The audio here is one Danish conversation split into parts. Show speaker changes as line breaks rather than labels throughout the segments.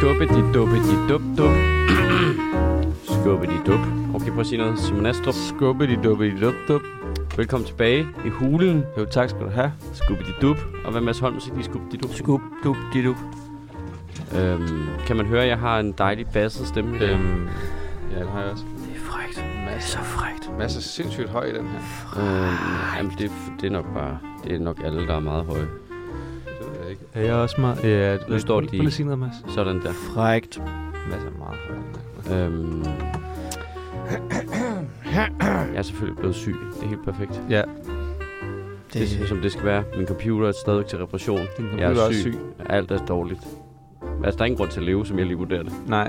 duppe de dup dup
Skubbe de dup. Okay, prøv at sige noget. Simon Astrup.
skubbe de duppe de dup dup
Velkommen tilbage i hulen. Jo, tak skal du have. Skubbe de dup. Og hvad Mads Holm siger, skubbe de dup.
skub dup de dup
Øhm, kan man høre, at jeg har en dejlig basset stemme? i dag?
Øhm, ja, den har jeg også.
det er frækt. Det er
Masse,
så frækt.
masse sindssygt høj i den her.
Øhm, jamen, det, det er nok bare... Det er nok alle, der er meget høje.
Det ved jeg ikke.
Er jeg også meget... Ja,
Nu står de-
Prøv lige at sige noget, Mads.
Sådan der.
frækt
Masse er meget høj. i den her.
Øhm, jeg er selvfølgelig blevet syg. Det er helt perfekt.
Ja,
Det er sådan, som det skal være. Min computer er stadigvæk til reparation.
din
Jeg
computer
er
er syg.
syg. Alt er dårligt. Altså, der er ingen grund til at leve, som jeg lige vurderer det.
Nej,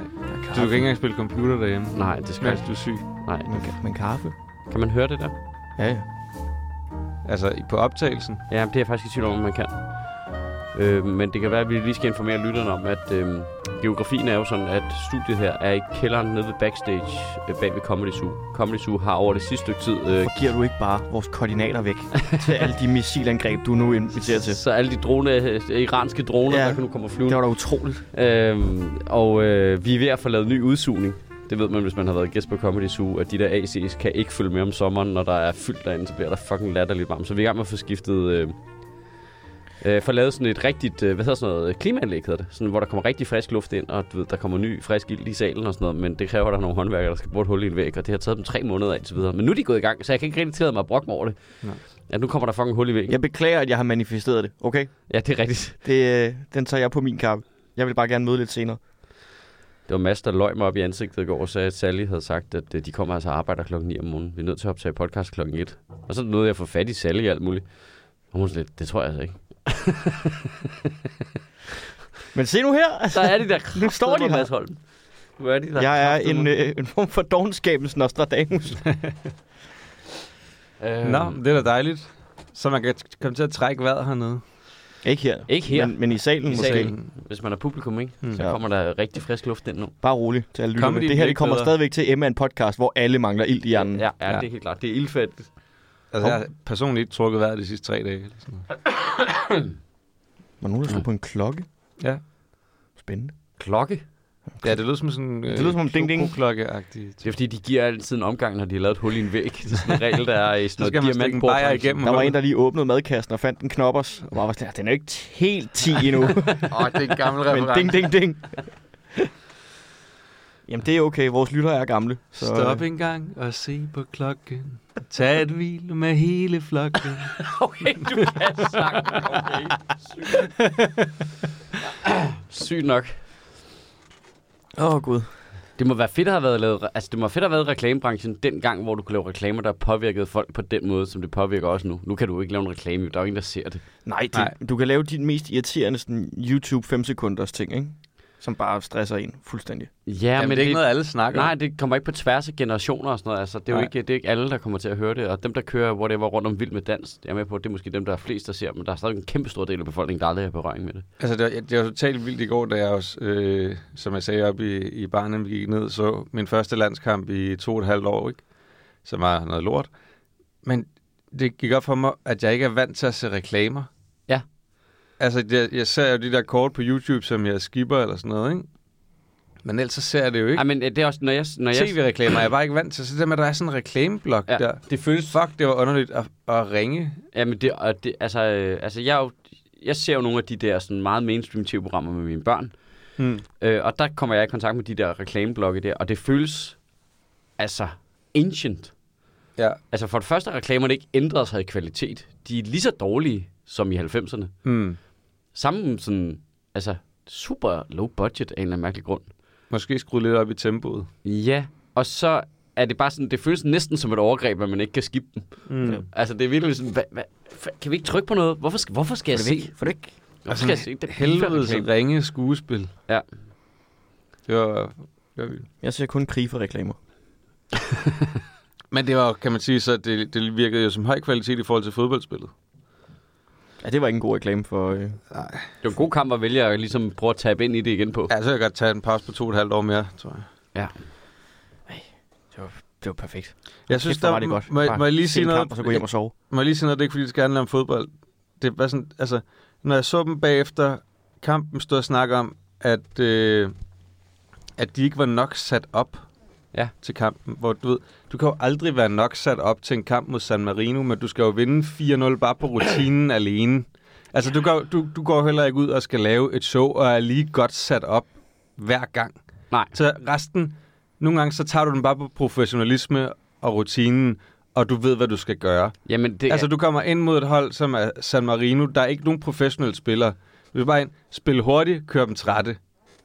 du kan ikke engang spille computer derhjemme,
Nej, det skal
mens
jeg.
du er syg.
Nej.
men, men kaffe
Kan man høre det der?
ja ja
Altså, i- på optagelsen.
Ja, det er jeg faktisk i tvivl om, om man kan. Øh, men det kan være, at vi lige skal informere lytterne om, at øh, geografien er jo sådan, at studiet her er i kælderen nede ved backstage øh, bag ved Comedy Zoo. Comedy Zoo har over det sidste stykke tid... Øh,
Hvorfor giver du ikke bare vores koordinater væk til alle de missilangreb du nu inviterer til
så alle de drone, øh, iranske droner,
Ja.
ja. der kan nu komme og flyve.
det var da utroligt
Øhm, og øh, vi er ved at få lavet ny udsugning. Det ved man, hvis man har været gæst på Comedy Zoo, at de der AC's kan ikke følge med om sommeren, når der er fyldt derinde, så bliver der fucking latterligt varmt. Så vi er i gang med at få skiftet... Øh, øh, få lavet sådan et rigtigt, øh, hvad hedder sådan noget, øh, klimaanlæg hedder det, sådan, hvor der kommer rigtig frisk luft ind, og du ved, der kommer ny frisk ild i salen og sådan noget, men det kræver, at der er nogle håndværkere, der skal bruge et hul i en væg, og det har taget dem tre måneder af, og så videre. Men nu er de gået i gang, så jeg kan ikke rigtig tillade mig at brokke mig over det.
Nej.
At nu kommer der fucking hul i væggen.
jeg beklager at jeg har manifesteret det okay
Ja, det er rigtigt.
det, øh, den tager jeg på min kappe jeg vil bare gerne møde lidt senere
Det var Mads, der løg mig op i ansigtet i går og sagde, at Sally havde sagt, at øh, de kommer altså og arbejder klokken 9 om morgenen. Vi er nødt til at optage podcast klokken 1. Og så nåede jeg at få fat i Sally og alt muligt. Og hun var sådan lidt, det tror jeg altså ikke.
men se nu her altså,
Så er de der
nu står de her
Mads Holm. Nu er de der
jeg er
kraftedeme.
en, øh, en form for dogenskabens Nostradamus.
Øhm,
Nå, men det er da dejligt. Så man kan t- komme til at trække vejret hernede.
Ikke her.
Ikke her.
Men, men i salen
I
måske.
salen. Hvis man er publikum, ikke?
Mm.
så
Ja.
kommer der rigtig frisk luft ind nu.
Bare rolig til alle lytterne.
Comedy
Det her
bliver
det kommer
ikke bedre.
stadigvæk til Emma en podcast, hvor alle mangler ild i hjernen.
Ja,
Ja.
ja, det er helt klart. Det er ildfattigt.
Altså, jeg har personligt ikke trukket vejret de sidste tre dage. Eller sådan noget.
Var nogen, der stod på en klokke?
Ja.
Spændende.
Klokke.
Ja, det lød som sådan... øh,
Det lyder som om ding, ding.
klokke
Det er fordi, de giver altid en omgang, når de har lavet et hul i en væg. Det er sådan en regel, der er i
Så
sådan
skal
noget
man stikke en bajer
diamantbordbranchen.
igennem.
Der var en, der lige åbnede madkassen og fandt en knoppers. Og bare var sådan, "Ah, den er jo ikke helt 10 endnu.
Åh, oh, det er en gammel
men
reference.
ding, ding, ding. Jamen, det er okay. Vores lyttere er gamle. Så, øh,
Stop en gang og se på klokken. Tag et hvil med hele flokken.
Okay, du kan sang. Okay, sygt. sygt nok.
Åh, oh, Gud.
Det må være fedt at have været lavet, altså det må være fedt at have været i reklamebranchen dengang, hvor du kunne lave reklamer, der påvirkede folk på den måde, som det påvirker også nu. Nu kan du ikke lave en reklame, jo. der er jo ingen, der ser det.
Nej, det,
Nej.
du kan lave din mest irriterende sådan, YouTube 5 sekunders ting, ikke? Som bare stresser en fuldstændig.
Ja,
Jamen, det er ikke noget, alle snakker om.
Nej, det kommer ikke på tværs af generationer og sådan noget. Altså, det, er jo
Nej.
ikke, det er ikke alle, der kommer til at høre det. Og dem, der kører whatever rundt om vild med dans, det er jeg med på, det er måske dem, der er flest, der ser dem. Men der er stadig en kæmpe stor del af befolkningen, der aldrig har berøring med det.
Altså, det var, det var totalt vildt i går, da jeg også, øh, som jeg sagde op i, i barnen, vi gik ned, så min første landskamp i to og et halvt år, ikke? som var noget lort. Men det gik op for mig, at jeg ikke er vant til at se reklamer.
Ja.
Altså, jeg, jeg ser jo de der kort på YouTube, som jeg skipper eller sådan noget, ikke? Men ellers så ser jeg det jo ikke.
Ej, men øh, det er også, når jeg... Når jeg
TV-reklamer, jeg er bare ikke vant til. Så det der med, at der er sådan en reklameblok
Ja,
ja, der. Det føles... Fuck, det var underligt at, at ringe.
Jamen, det, og det, altså, øh, altså jeg, er jo, jeg ser jo nogle af de der sådan meget mainstream tv-programmer med mine børn,
Hmm.
øh, og der kommer jeg i kontakt med de der reklameblokke der, og det føles altså ancient.
Ja.
Altså for det første har reklamerne ikke ændret sig i kvalitet. De er lige så dårlige som i 90'erne.
Hmm.
Samme sådan, altså super low budget af en eller anden mærkelig grund.
Måske skrue lidt op i tempoet.
Ja, og så er det bare sådan, det føles næsten som et overgreb, at man ikke kan skifte dem.
Mm.
Altså det er virkelig sådan, hvad, hvad, kan vi ikke trykke på noget? Hvorfor skal, hvorfor skal jeg
det
se?
For det ikke?
Hvorfor skal jeg se? Det
Helvedes
FIFA-reklame.
ringe skuespil.
Ja.
Det var, det var vildt.
Jeg ser kun krig for reklamer.
Men det var, jo, kan man sige, så det, det virkede jo som høj kvalitet i forhold til fodboldspillet.
Ja, det var ikke en god reklame for... Øh...
Det er en god kamp at vælge at ligesom prøve at tabe ind i det igen på.
Ja, så kan jeg godt tage en pause på to og et halvt år mere, tror jeg.
Det var perfekt.
Jeg synes,
Kæft, hvor
der,
var det godt.
Må, jeg-
Bare
må jeg lige
se
sige
en
noget?
Kamp, og så gå hjem og sove.
må jeg lige sige noget, det er ikke fordi, det skal handle om fodbold. Det var sådan, altså, når jeg så dem bagefter kampen stod og snakke om, at øh, at de ikke var nok sat op
Ja.
til kampen. Hvor du ved, du kan jo aldrig være nok sat op til en kamp mod San Marino, men du skal jo vinde 4-0 bare på rutinen alene. Altså, du går, du, du går heller ikke ud og skal lave et show, og er lige godt sat op hver gang.
Nej.
Så resten, nogle gange, så tager du den bare på professionalisme og rutinen, og du ved, hvad du skal gøre.
Jamen, det
Altså,
altså,
du kommer ind mod et hold, som er San Marino. Der er ikke nogen professionelle spillere. Du skal bare ind, spille hurtigt, køre dem trætte.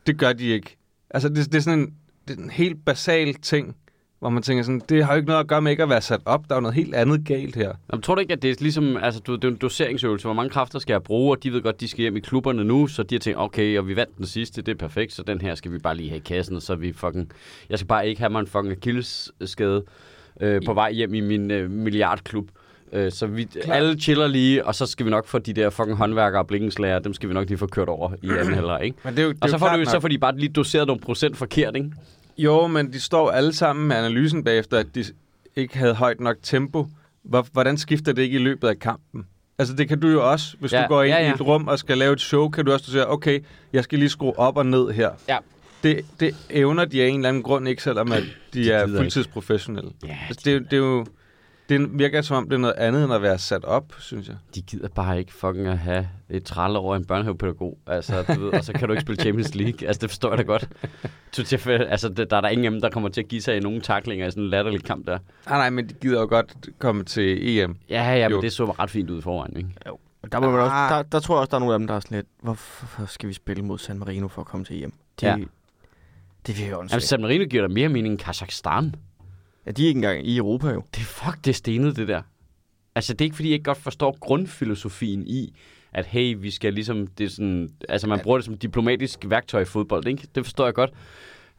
Det gør de ikke. Altså, det, det er sådan en, det er en helt basal ting, hvor man tænker sådan, det har jo ikke noget at gøre med ikke at være sat op. Der er jo noget helt andet galt her.
Jamen, tror du ikke, at det er ligesom, altså, du, det er jo en doseringsøvelse, hvor mange kræfter skal jeg bruge, og de ved godt, de skal hjem i klubberne nu, så de har tænkt, okay, og vi vandt den sidste, det er perfekt, så den her skal vi bare lige have i kassen, og så er vi fucking, jeg skal bare ikke have mig en fucking akillesskade øh, på vej hjem i min øh, milliardklub. Øh, så vi Klar. alle chiller lige, og så skal vi nok få de der fucking håndværkere og blikkenslager, dem skal vi nok lige få kørt over i anden halvleg, ikke?
Men det er jo, det
Og så får,
klart
du,
nok.
så får de bare lige doseret nogle procent forkert, ikke?
Jo, men de står alle sammen med analysen bagefter, at de ikke havde højt nok tempo. Hvor- Hvordan skifter det ikke i løbet af kampen? Altså det kan du jo også, hvis
Ja,
du går ind
ja,
i
ja.
et rum og skal lave et show, kan du også sige, okay, jeg skal lige skrue op og ned her.
Ja.
Det, det evner de af en eller anden grund ikke, selvom at de, de er
gider
fuldtidsprofessionelle.
Ja,
Altså, det, er jo- det er jo... Det virker som om, det er noget andet end at være sat op, synes jeg.
de gider bare ikke fucking at have et trælle over en børnehavepædagog. Altså, du ved, og så kan du ikke spille Champions League. Altså, det forstår jeg da godt. Du, til- altså, det, der er der ingen af dem, der kommer til at give sig i nogen taklinger i sådan en latterlig kamp der.
Nej, Ah, nej, men de gider jo godt komme til E EM.
Ja, ja, men
Jo.
det så ret fint ud i forvejen, ikke?
Og Der, må man også,
Ah.
der, der tror jeg også, der er nogle af dem, der er sådan lidt, hvorfor skal vi spille mod San Marino for at komme til hjem? Det,
Ja.
ja. det virker jo
Jamen,
åndssvagt.
San Marino giver da mere mening end Kazakhstan.
Ja, de er ikke engang i Europa jo.
Det fuck, det er stenet, det der. Altså, det er ikke, fordi jeg ikke godt forstår grundfilosofien i, at hey, vi skal ligesom, det er sådan, altså man bruger det som diplomatisk værktøj i fodbold, ikke? Det forstår jeg godt.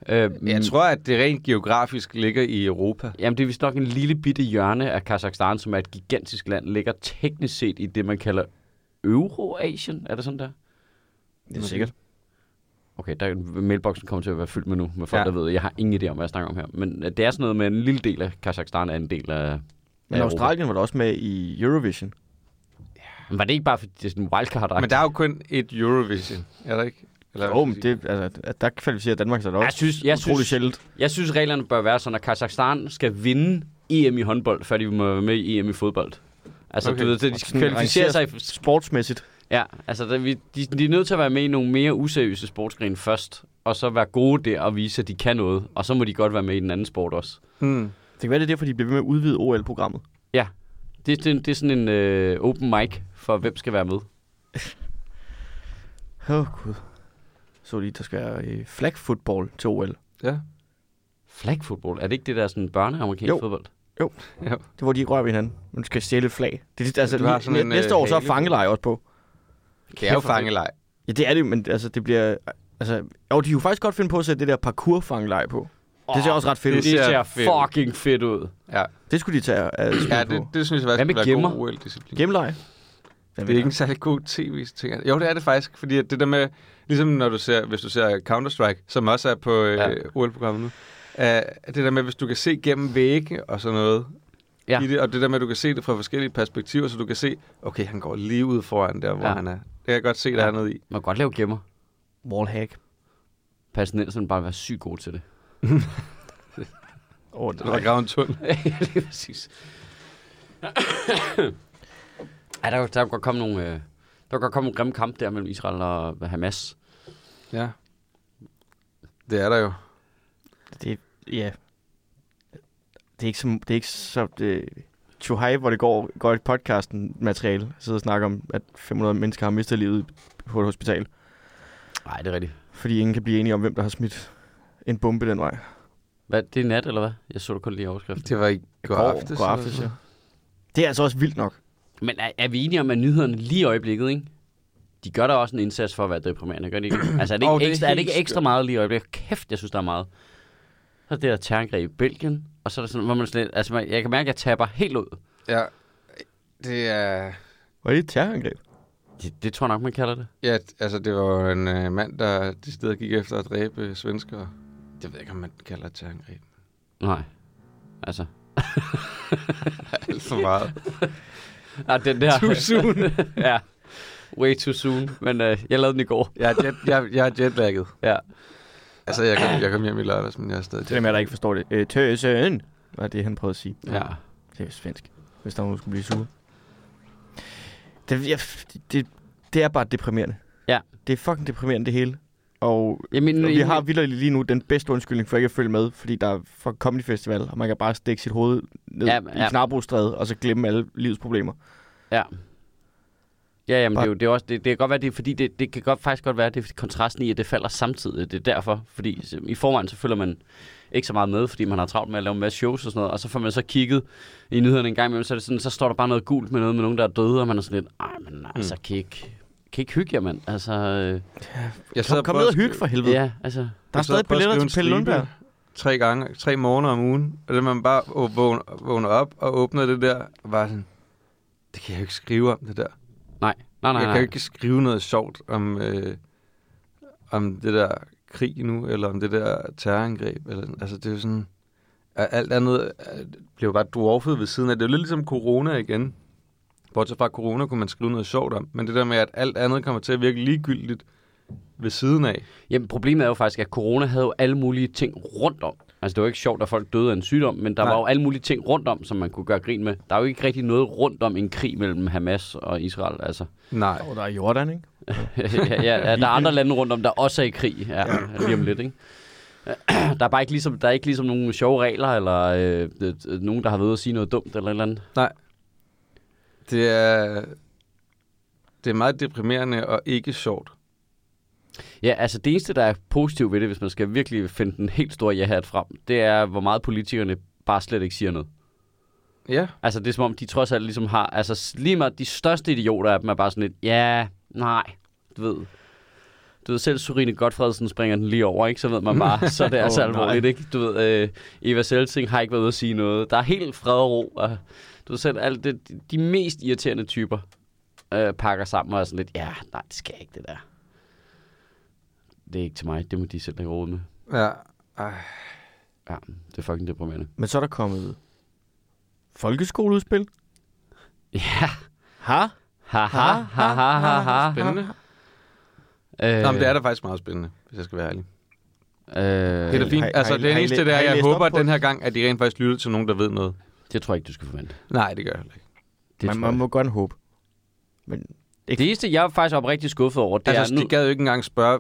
Øh,
Jeg tror, at det rent geografisk ligger i Europa.
Jamen, det er vist nok en lille bitte hjørne af Kazakhstan, som er et gigantisk land, ligger teknisk set i det, man kalder Eurasien. Er det sådan der?
Det er sikkert.
Okay, der, mailboksen kommer til at være fyldt med nu, med folk,
Ja.
ja. der ved, jeg har ingen idé om, hvad jeg snakker om her. Men øh, det er sådan noget med en lille del af Kazakhstan er en del af...
Men
Ja,
Australien var da også med i Eurovision.
Men var det ikke bare, fordi det er sådan en wildcard
Men der er jo kun et Eurovision, er der ikke? Eller,
Jo, men det, altså, at der kvalificerer Danmark sig da også.
Jeg synes, jeg
utrolig
synes,
sjældent.
jeg synes, reglerne bør være sådan, at Kazakhstan skal vinde EM i håndbold, før de må være med i EM i fodbold. Altså,
Okay.
okay. du ved, det, de skal
Sådan
kvalificere sig i
Sportsmæssigt.
Ja, altså der, vi, de, de er nødt til at være med i nogle mere useriøse sportsgrene først, og så være gode der og vise, at de kan noget, og så må de godt være med i den anden sport også.
Hmm.
Det kan være, det er derfor, de bliver ved med at udvide OL-programmet.
Det, det, det er sådan en øh, open mic for, hvem skal være med.
Åh, oh, gud. Så lige, der skal være øh, flag football til OL.
Ja.
Flagfodbold, er det ikke det der sådan børneamerikansk
Jo.
fodbold?
Det er, hvor de ikke rører ved hinanden. Man skal stjæle et flag. Det, er- altså,
Du har
næ-
sådan en,
næste
øh,
år så er
hale på.
fangeleje også på.
Det er jo
Kæft, hvor fedt.
fangelej.
Ja, det er det, men altså, det bliver... Altså, jo, de kunne faktisk godt finde på at sætte det der parkour-fangeleje på. Oh, det ser også ret fedt
Det
ud.
det ser
ser
fedt ud.
fucking fedt ud.
Ja,
Det skulle de tage at uh,
ja
ja,
det,
på.
det synes jeg
Hvad med
faktisk kunne være god
gemmer?
OL-disciplin.
Gemmeleje.
Det er ikke en særlig god tv-ting. Jo, det er det faktisk, fordi at det der med, ligesom når du ser, hvis du ser Counter-Strike, som også er på øh,
Ja.
OL-programmet nu, øh, det der med, hvis du kan se gennem vægge og sådan noget,
Ja.
i det, og det der med, at du kan se det fra forskellige perspektiver, så du kan se, okay, han går lige ud foran der, hvor
Ja.
han er. Det kan jeg godt se, der
Ja.
er noget i.
Man kan godt lave gemmer.
Wallhack.
Palæstinenserne bare være sygt gode til det.
Oh,
Der er gravet en tunnel.
det er præcis. ja, der, der kunne godt komme nogle... Øh, der kunne godt komme en grim kamp der mellem Israel og Hamas.
Ja. Det er der jo.
det, ja. Det er ikke så... Det er ikke så det, to high, hvor det går, går i podcasten materiale. Sidder og snakker om, at 500 mennesker har mistet livet på et hospital.
Nej, det er rigtigt.
Fordi ingen kan blive enige om, hvem der har smidt en bombe den vej.
Hvad, det er nat, eller hvad? Jeg så det kun lige i overskriften.
Det var i går, aftes. altså.
God aftes, ja. Det er altså også vildt nok.
Men er, er vi enige om, at nyhederne lige i øjeblikket, ikke? De gør da også en indsats for at være deprimerende, gør de ikke? Altså, er det ikke,
Åh,
oh,
det
det
er
ekstra, er det ikke
helt
ekstra meget lige i øjeblikket? Kæft, jeg synes, der er meget. Så er det der terrorangreb i Belgien, og så er der sådan, hvor man sådan lidt, altså, man, jeg kan mærke, at jeg taber helt ud.
Ja. Det er...
Var det et terrorangreb?
Det, det tror jeg nok, man kalder det.
Ja, t- altså det var jo en øh, mand, der de steder gik efter at dræbe øh, svenskere. Det ved jeg ikke, om man kalder et terrorangreb.
Nej. Altså.
Alt for meget.
Nej, Ah, den der.
Too soon.
ja. Way too soon. Men øh, jeg lavede den i går.
jeg, er jet, jeg, jeg er jetlagget.
Ja.
Altså, jeg kom, jeg kom hjem i lørdags, men jeg er stadig...
Til dem, af jer, der ikke forstår det. Øh, tøsen, var det, han prøvede at sige.
Ja.
Det er svensk, hvis der er nogen, der skulle blive sure. Det, jeg, det, det er bare deprimerende.
Ja.
Det er fucking deprimerende, det hele. Og
Jamen,
Og vi har vildt lige nu den bedste undskyldning for ikke at følge med, fordi der er for Comedy Festival, og man kan bare stikke sit hoved ned
Ja,
ja,
ja.
i Knarbostræde, og så glemme alle livets problemer.
Ja. Ja, jamen, det, er
Bare-
jo, det, er også, det, det kan godt være, det er, fordi det, det kan godt, faktisk godt være, det er fordi kontrasten i, at det falder samtidig. Det er derfor, fordi s- i forvejen så følger man ikke så meget med, fordi man har travlt med at lave en masse shows og sådan noget, og så får man så kigget i nyhederne en gang imellem, så, er det sådan, så står der bare noget gult med noget med nogen, der er døde, og man er sådan lidt, ej, men altså,
Mm.
kan I ikke, kan I ikke hygge jer, mand? Altså, øh,
Jeg
Kom, kom ned og hygge for helvede. Ja.
ja, altså,
Der er stadig billetter til Pelle Lundberg.
Tre gange, tre morgener om ugen. Og det man bare å- vågn- vågner op og åbner det der, og bare sådan, det kan jeg jo ikke skrive om det der.
nej, nej, nej,
Jeg
nej.
kan jo ikke skrive noget sjovt om, øh, om det der krig nu, eller om det der terrorangreb. Eller, sådan. altså, det er jo sådan... at Alt andet øh, blev jo bare dwarfet ved siden af. Det er jo lidt ligesom corona igen. Bortset fra corona kunne man skrive noget sjovt om. Men det der med, at alt andet kommer til at virke ligegyldigt ved siden af.
Jamen, problemet er jo faktisk, at corona havde jo alle mulige ting rundt om. Altså, det var ikke sjovt, at folk døde af en sygdom, men der Nej.
Nej.
var jo alle mulige ting rundt om, som man kunne gøre grin med. Der er jo ikke rigtig noget rundt om en krig mellem Hamas og Israel, altså.
Nej.
Og der er Jordan, ikke?
ja, ja, ja, der er andre lande rundt om, der også er i krig, ja, lige om lidt, ikke? Der er bare ikke ligesom, der er ikke ligesom nogen sjove regler, eller øh, øh, øh, nogen, der har været ude at sige noget dumt, eller et eller andet.
Det er, det er meget deprimerende og ikke sjovt.
Ja, altså det eneste, der er positivt ved det, hvis man skal virkelig finde den helt store ja-hat frem, det er, hvor meget politikerne bare slet ikke siger noget.
Ja,
Altså, det er som om, de trods alt ligesom har... Altså, s- lige meget de største idioter af dem er bare sådan lidt... Ja, nej, du ved... Du ved, selv Surine Godfredsen springer den lige over, ikke? Så ved man bare, så er det er altså
Åh, nej.
alvorligt, ikke? Du ved, øh, Eva Selsing har ikke været ude at sige noget. Der er helt fred og ro, og du ved selv, alt det, de mest irriterende typer øh, pakker sammen og er sådan lidt, ja, nej, det skal jeg ikke, det der. Det er ikke til mig, det må de selv have råd med.
ja. Ej,
Ja, det er fucking deprimerende.
Men så er der kommet folkeskoleudspil.
Ja,
Ha?
ha ha ha ha ha ha.
spændende.
Øh,
Nå, men det er da faktisk meget spændende, hvis jeg skal være ærlig.
Øh,
Det er da fint.
har I-
altså,
har I- har
det
I læ-
eneste, det er,
har I
jeg
læst op
håber, at
på
den
det?
her gang, at de rent faktisk lytter til nogen, der ved noget.
Det tror jeg ikke, du skal forvente.
Nej, det gør jeg heller ikke.
Det,
Man,
man,
man må godt håbe. Men
det eneste, jeg er faktisk oprigtigt skuffet over, det
Altså,
er nu...
de gad jo ikke engang spørge,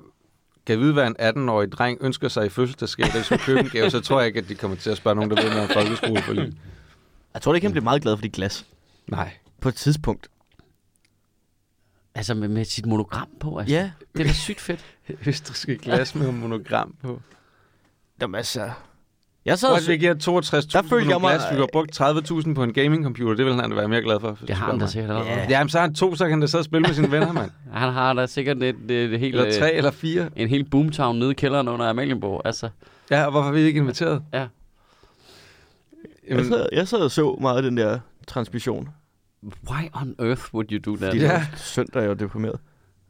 kan vi vide, hvad en 18-årig dreng ønsker sig i fødselsdagsgave, da de skal købe en gave, så tror jeg ikke, at de kommer til at spørge nogen, der ved noget om folkeskole for lige.
jeg tror, det kan blive meget glad for dit glas.
Nej.
På et tidspunkt.
Altså, med, med sit monogram på, altså.
Ja.
Det er da sygt fedt.
Østriske glas med monogram på.
Jamen altså... Jeg sad
Så
og
What, vi giver 62.000
Der følte
på
jeg
nogle
mig-
glas, vi har brugt 30.000 på en gamingcomputer, det vil han da være mere glad for. hvis
Det
du
har
spørger
han da
mig.
sikkert allerede.
Ja.
Yeah.
Ja, men så har han to, så kan han da sidde og spille med sine venner, mand.
Han har da sikkert et, et, et helt,
Eller tre
øh,
eller fire.
en hel boomtown nede i kælderen under Amalienborg. Altså,
Ja, og hvorfor er vi ikke inviteret?
Ja.
Jeg
Jamen,
sad, jeg sad og så meget af den der transmission.
why on earth would you do that?
Fordi ja. det
Ja.
var søndag, jeg var deprimeret.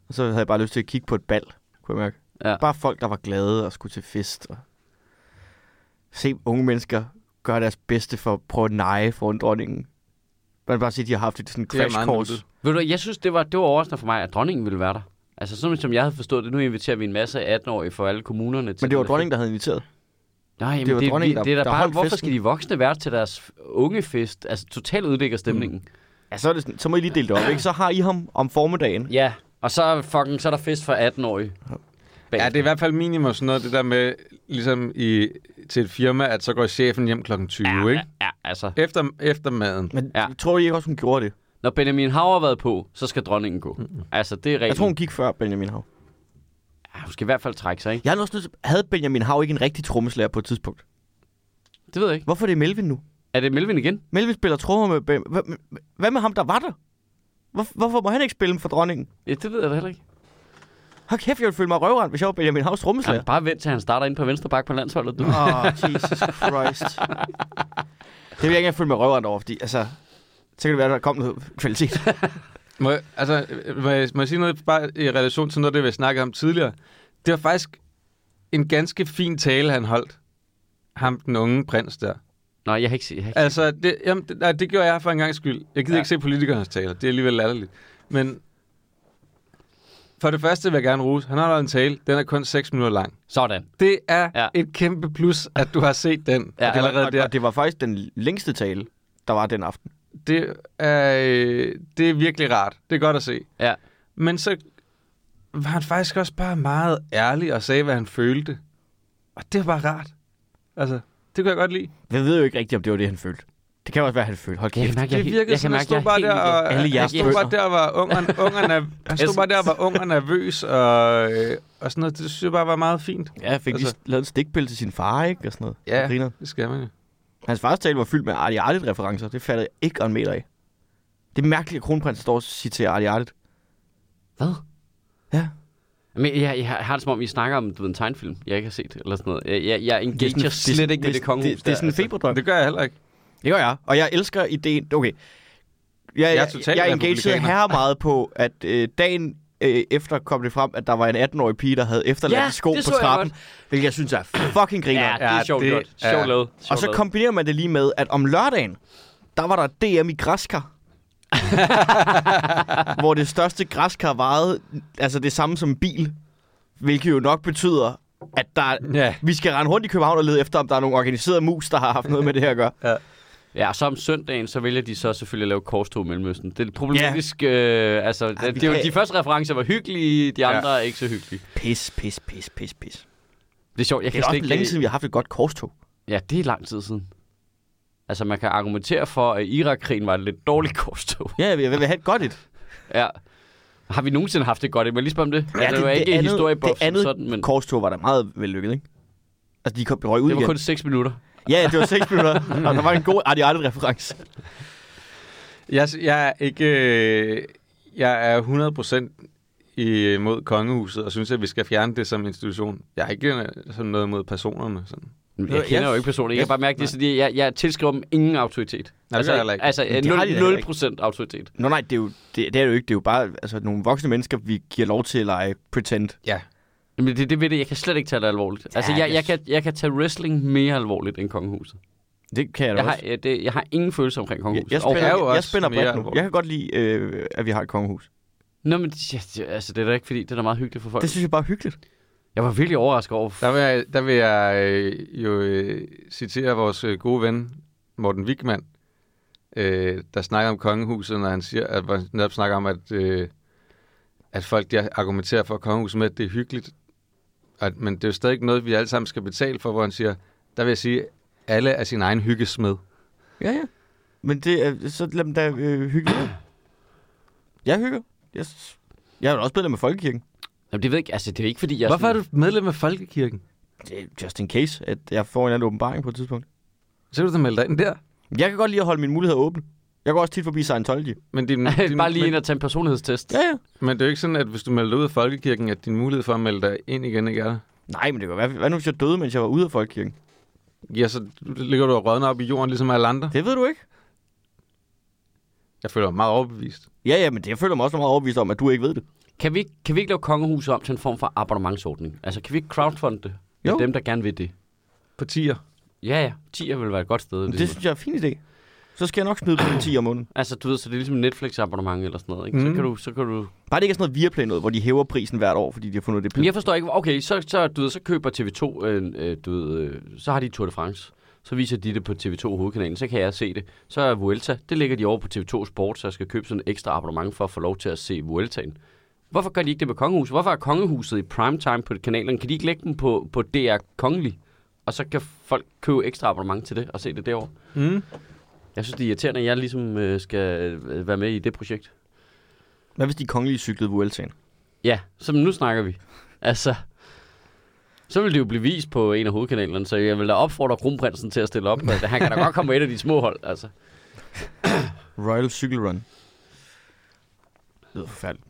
Og så havde jeg bare lyst til at kigge på et bal, kunne jeg mærke.
Ja.
Bare folk, der var glade og skulle til fest. Og se unge mennesker gøre deres bedste for at prøve at neje foran dronningen. Man kan bare sige, at de har haft et sådan
Det er
crash
meget
course.
nuttet.
Ved du, hvad, jeg synes, det var, det var overraskende for mig, at dronningen ville være der. Altså, sådan som jeg havde forstået det, nu inviterer vi en masse 18-årige fra alle kommunerne til...
Men det var
den der
dronningen, der havde inviteret.
Nej, men
Det
det,
var
det,
dronningen,
der,
der-
det er da
der
bare,
holdt
hvorfor
festen.
skal de voksne være til deres ungefest? Altså, totalt ødelægger stemningen. Mm.
Ja, så, er det sådan, så må I lige dele det op, ikke? Så har I ham om formiddagen.
Ja, og så, fucking, så er der fest for 18-årige.
Ja, det er i hvert fald minimum sådan noget, det der med, ligesom i, til et firma, at så går chefen hjem klokken 20, ja, ikke?
Ja, altså.
Efter, efter maden.
Men
Ja.
ja. tror I ikke også, hun gjorde det?
Når Benjamin Hav har været på, så skal dronningen gå. Altså, det er reglen.
Jeg tror, hun gik før Benjamin Hav.
ja, hun skal i hvert fald trække sig, ikke?
Jeg havde også lyst til, havde Benjamin Hav ikke en rigtig trommeslager på et tidspunkt?
Det ved jeg ikke.
Hvorfor er det Melvin nu?
Er det Melvin igen?
Melvin spiller trommer med Ben. Hva- Hvad med ham, der var der? Hvor, hvorfor må han ikke spille for dronningen?
Ja, det ved jeg da heller ikke.
Har kæft, jeg ville føle mig røvrand, hvis jeg var Benjamin Havs trommeslager.
Jamen, bare vent til han starter ind på venstre bak på landsholdet. Du.
Åh, oh, Jesus Christ. det vil jeg ikke engang føle mig røvrand over, fordi altså... Så kan det være, at der kom noget kvalitet.
Må jeg, altså, øh, må jeg, må jeg sige noget bare i relation til noget, af det vi snakkede om tidligere? Det var faktisk en ganske fin tale, han holdt. Ham, den unge prins der.
Nå, jeg har ikke set. Jeg har ikke...
Altså, det, jamen, det, nej, det gjorde jeg for en gang skyld. Jeg gider
Ja.
ja. ikke se politikernes taler. Det er alligevel latterligt. Men For det første vil jeg gerne rose. Han har lavet en tale. Den er kun 6 minutter lang.
Sådan.
Det er
Ja.
ja. et kæmpe plus, at du har set den
Ja,
ja, allerede
og,
der.
og det var faktisk den længste tale, der var den aften.
Det er, øh, det er virkelig rart. Det er godt at se.
Ja.
Men så var han faktisk også bare meget ærlig og sagde, hvad han følte. Og det var bare rart. Altså, det kunne jeg godt lide.
Jeg ved jo ikke rigtigt, om det var det, han følte. Det kan også være, han følte. Hold
Jeg
kæft.
kan mærke, jeg,
det virkede sådan, at han stod bare der og,
Alle
han
jeres
stod bare
følelser.
der og var ung og, ung og, nerv- han stod bare der og var ung og nervøs og, øh, og sådan noget. Det synes jeg bare var meget fint.
Ja, jeg fik altså...
Altså-
lige lavet en stikpille til sin far, ikke? Og sådan noget.
Ja.
Han griner.
Det skal man jo.
Hans fars tale var fyldt med Artie Artit referencer. Det fattede jeg ikke en meter af. Det er mærkeligt, at kronprinsen står og citerer Artie Artit.
Hvad?
Ja.
Men jeg, jeg, har det som om, I snakker om du ved, en tegnfilm, jeg ikke har set, eller sådan noget. Jeg, jeg, jeg engager sådan, slet
det, er-
ikke med
det, er-
det altså. kongehus
det, det, det er sådan en feberdrøm.
Det gør jeg heller ikke.
Det gør jeg, og jeg elsker ideen. Okay. Jeg,
er
jeg, jeg,
totalt
jeg engagerede
republikaner.
her meget på, at øh, dagen øh, efter kom det frem, at der var en 18-årig pige, der havde efterladt
Ja,
en sko
det
på
så jeg
trappen. Hvilket jeg synes er fucking griner.
Ja, det er
Ja,
sjovt
det
godt.
er-
Sjovt lavet.
og
Sjovt
så
lavet.
kombinerer man det lige med, at om lørdagen, der var der DM i græskar. hvor det største græskar varede, altså det samme som en bil. Hvilket jo nok betyder, at der,
Ja.
vi skal rende rundt i København og lede efter, om der er nogle organiserede mus, der har haft noget med det her at gøre.
Ja, og så om søndagen, så vælger de så selvfølgelig at lave korstog i Mellemøsten. Det er problematisk. Yeah. Øh, altså, det,
vi
det, var,
kan-
de første referencer var hyggelige, de andre ja. er ikke så hyggelige.
Pis, pis, pis, pis, pis.
Det er sjovt, jeg
Det
kan
er
slet
også
ikke...
længe siden, vi har haft et godt korstog.
Ja, det er lang tid siden. Altså, man kan argumentere for, at Irak-krigen var et lidt dårligt korstog.
Ja, vi vil have et godt et.
Ja. Har vi nogensinde haft det godt? Jeg må lige spørge om det. Ja, det, det var ikke andet, historieboks
det andet
sådan, men
korstog var da meget vellykket, ikke? Altså, de kom, de røg ud
det var
igen.
kun 6 minutter.
Ja, det var 6 minutter, og der var en god Artie Arnold reference.
Jeg, jeg er ikke... Øh, jeg er 100% imod kongehuset, og synes, at vi skal fjerne det som institution. Jeg er ikke øh, sådan noget mod personerne. Sådan.
Jeg
jeg-
kender jo ikke personen. Jeg kan
jeg-
bare mærke det, er sådan, at jeg, jeg tilskriver dem ingen autoritet.
det
altså,
gør jeg heller ikke.
Altså,
Men det har de da heller
0,
ikke.
0% autoritet.
Nå nej, det er jo, det, det er jo ikke. Det er jo bare altså, nogle voksne mennesker, vi giver lov til at lege pretend.
Ja.
Men det, det ved det, jeg kan slet ikke tage det alvorligt. altså,
Ja,
jeg,
det-
jeg, kan, jeg kan tage wrestling mere alvorligt end kongehuset.
Det kan jeg da
Jeg har,
også.
ja, det, jeg har ingen følelse omkring
Jeg,
kongehuset.
jeg,
Overhovedet.
spænder,
er jo
jeg, jeg spænder
også mere
bredt nu.
alvorligt.
Jeg kan godt lide, øh, at vi har et kongehus.
Nå, men ja, det- altså, det er da ikke fordi, det er da meget hyggeligt for folk.
Det synes jeg bare er hyggeligt.
Jeg var virkelig overrasket over,
Der vil jeg, der vil jeg øh, jo øh, citere vores øh, gode ven, Morten Wigman, øh, der snakker om kongehuset, når han siger, at, hvor han netop snakker om, at, øh, at folk der argumenterer for kongehuset med, at det er hyggeligt. At, men det er jo stadig ikke noget, vi alle sammen skal betale for, hvor han siger, der vil jeg sige, alle er sin egen hyggesmed.
Ja, ja. Men det er, så lad dem da øh, hygge. lidt. Jeg hygger. Jeg, s- jeg er jo også medlem af Folkekirken.
Jamen, det ved jeg ikke. Altså, det er ikke, fordi jeg...
Hvorfor er
sådan...
du medlem af Folkekirken?
Det er just in case, at jeg får en eller anden åbenbaring på et tidspunkt.
Så kan du da melde dig ind der.
Jeg kan godt lide at holde mine muligheder åbne. Jeg går også tit forbi Scientology.
Men, din, din,
Bare lige
men,
ind og tage en personlighedstest.
Ja, ja.
men det er jo ikke sådan, at hvis du melder dig ud af Folkekirken, at din mulighed for at melde dig ind igen ikke er der.
Nej, men det kan være. Hvad nu, hvis jeg døde, mens jeg var ude af Folkekirken?
Ja, så ligger du og rådner op i jorden, ligesom alle andre.
Det ved du ikke.
Jeg føler mig meget overbevist.
Ja, ja, men det, jeg føler mig også meget overbevist om, at du ikke ved det.
Kan vi, ikke- kan vi ikke lave kongehuset om til en form for abonnementsordning? Altså, kan vi ikke crowdfunde det? Jo.
Jo.
dem, der gerne vil det.
Partier.
Ja, ja. 10 vil være et godt sted.
Men
Ligesom.
det synes jeg er en fin idé. Så skal jeg nok smide på en 10 om måneden.
Altså, du ved, så det er ligesom et Netflix-abonnement eller sådan noget, ikke? Mm. Så
Mhm.
kan du... Så kan du...
Bare det ikke er sådan noget Viaplay noget, hvor de hæver prisen hvert år, fordi de har fundet det
Men
pille.
jeg forstår ikke... Okay, så, så, du ved, så køber TV2... Øh, øh, du ved, øh, så har de Tour de France. Så viser de det på TV2 hovedkanalen, så kan jeg se det. Så er Vuelta, det ligger de over på TV2 Sport, så jeg skal købe sådan et ekstra abonnement for at få lov til at se Vueltaen. Hvorfor gør de ikke det på Kongehuset? Hvorfor er Kongehuset i primetime på kanalerne? Kan de ikke lægge dem på, på DR Kongelig? Og så kan folk købe ekstra abonnement til det og se det derovre.
Mm.
Jeg synes, det er irriterende, at jeg ligesom øh, skal øh, være med i det projekt.
Hvad hvis de kongelige cyklede Vueltaen?
Ja, så nu snakker vi. Altså, så vil det jo blive vist på en af hovedkanalerne, så jeg vil da opfordre kronprinsen til at stille op. Altså, han kan da godt komme med et af de små hold, altså.
Royal Cycle Run. Det lyder forfærdeligt.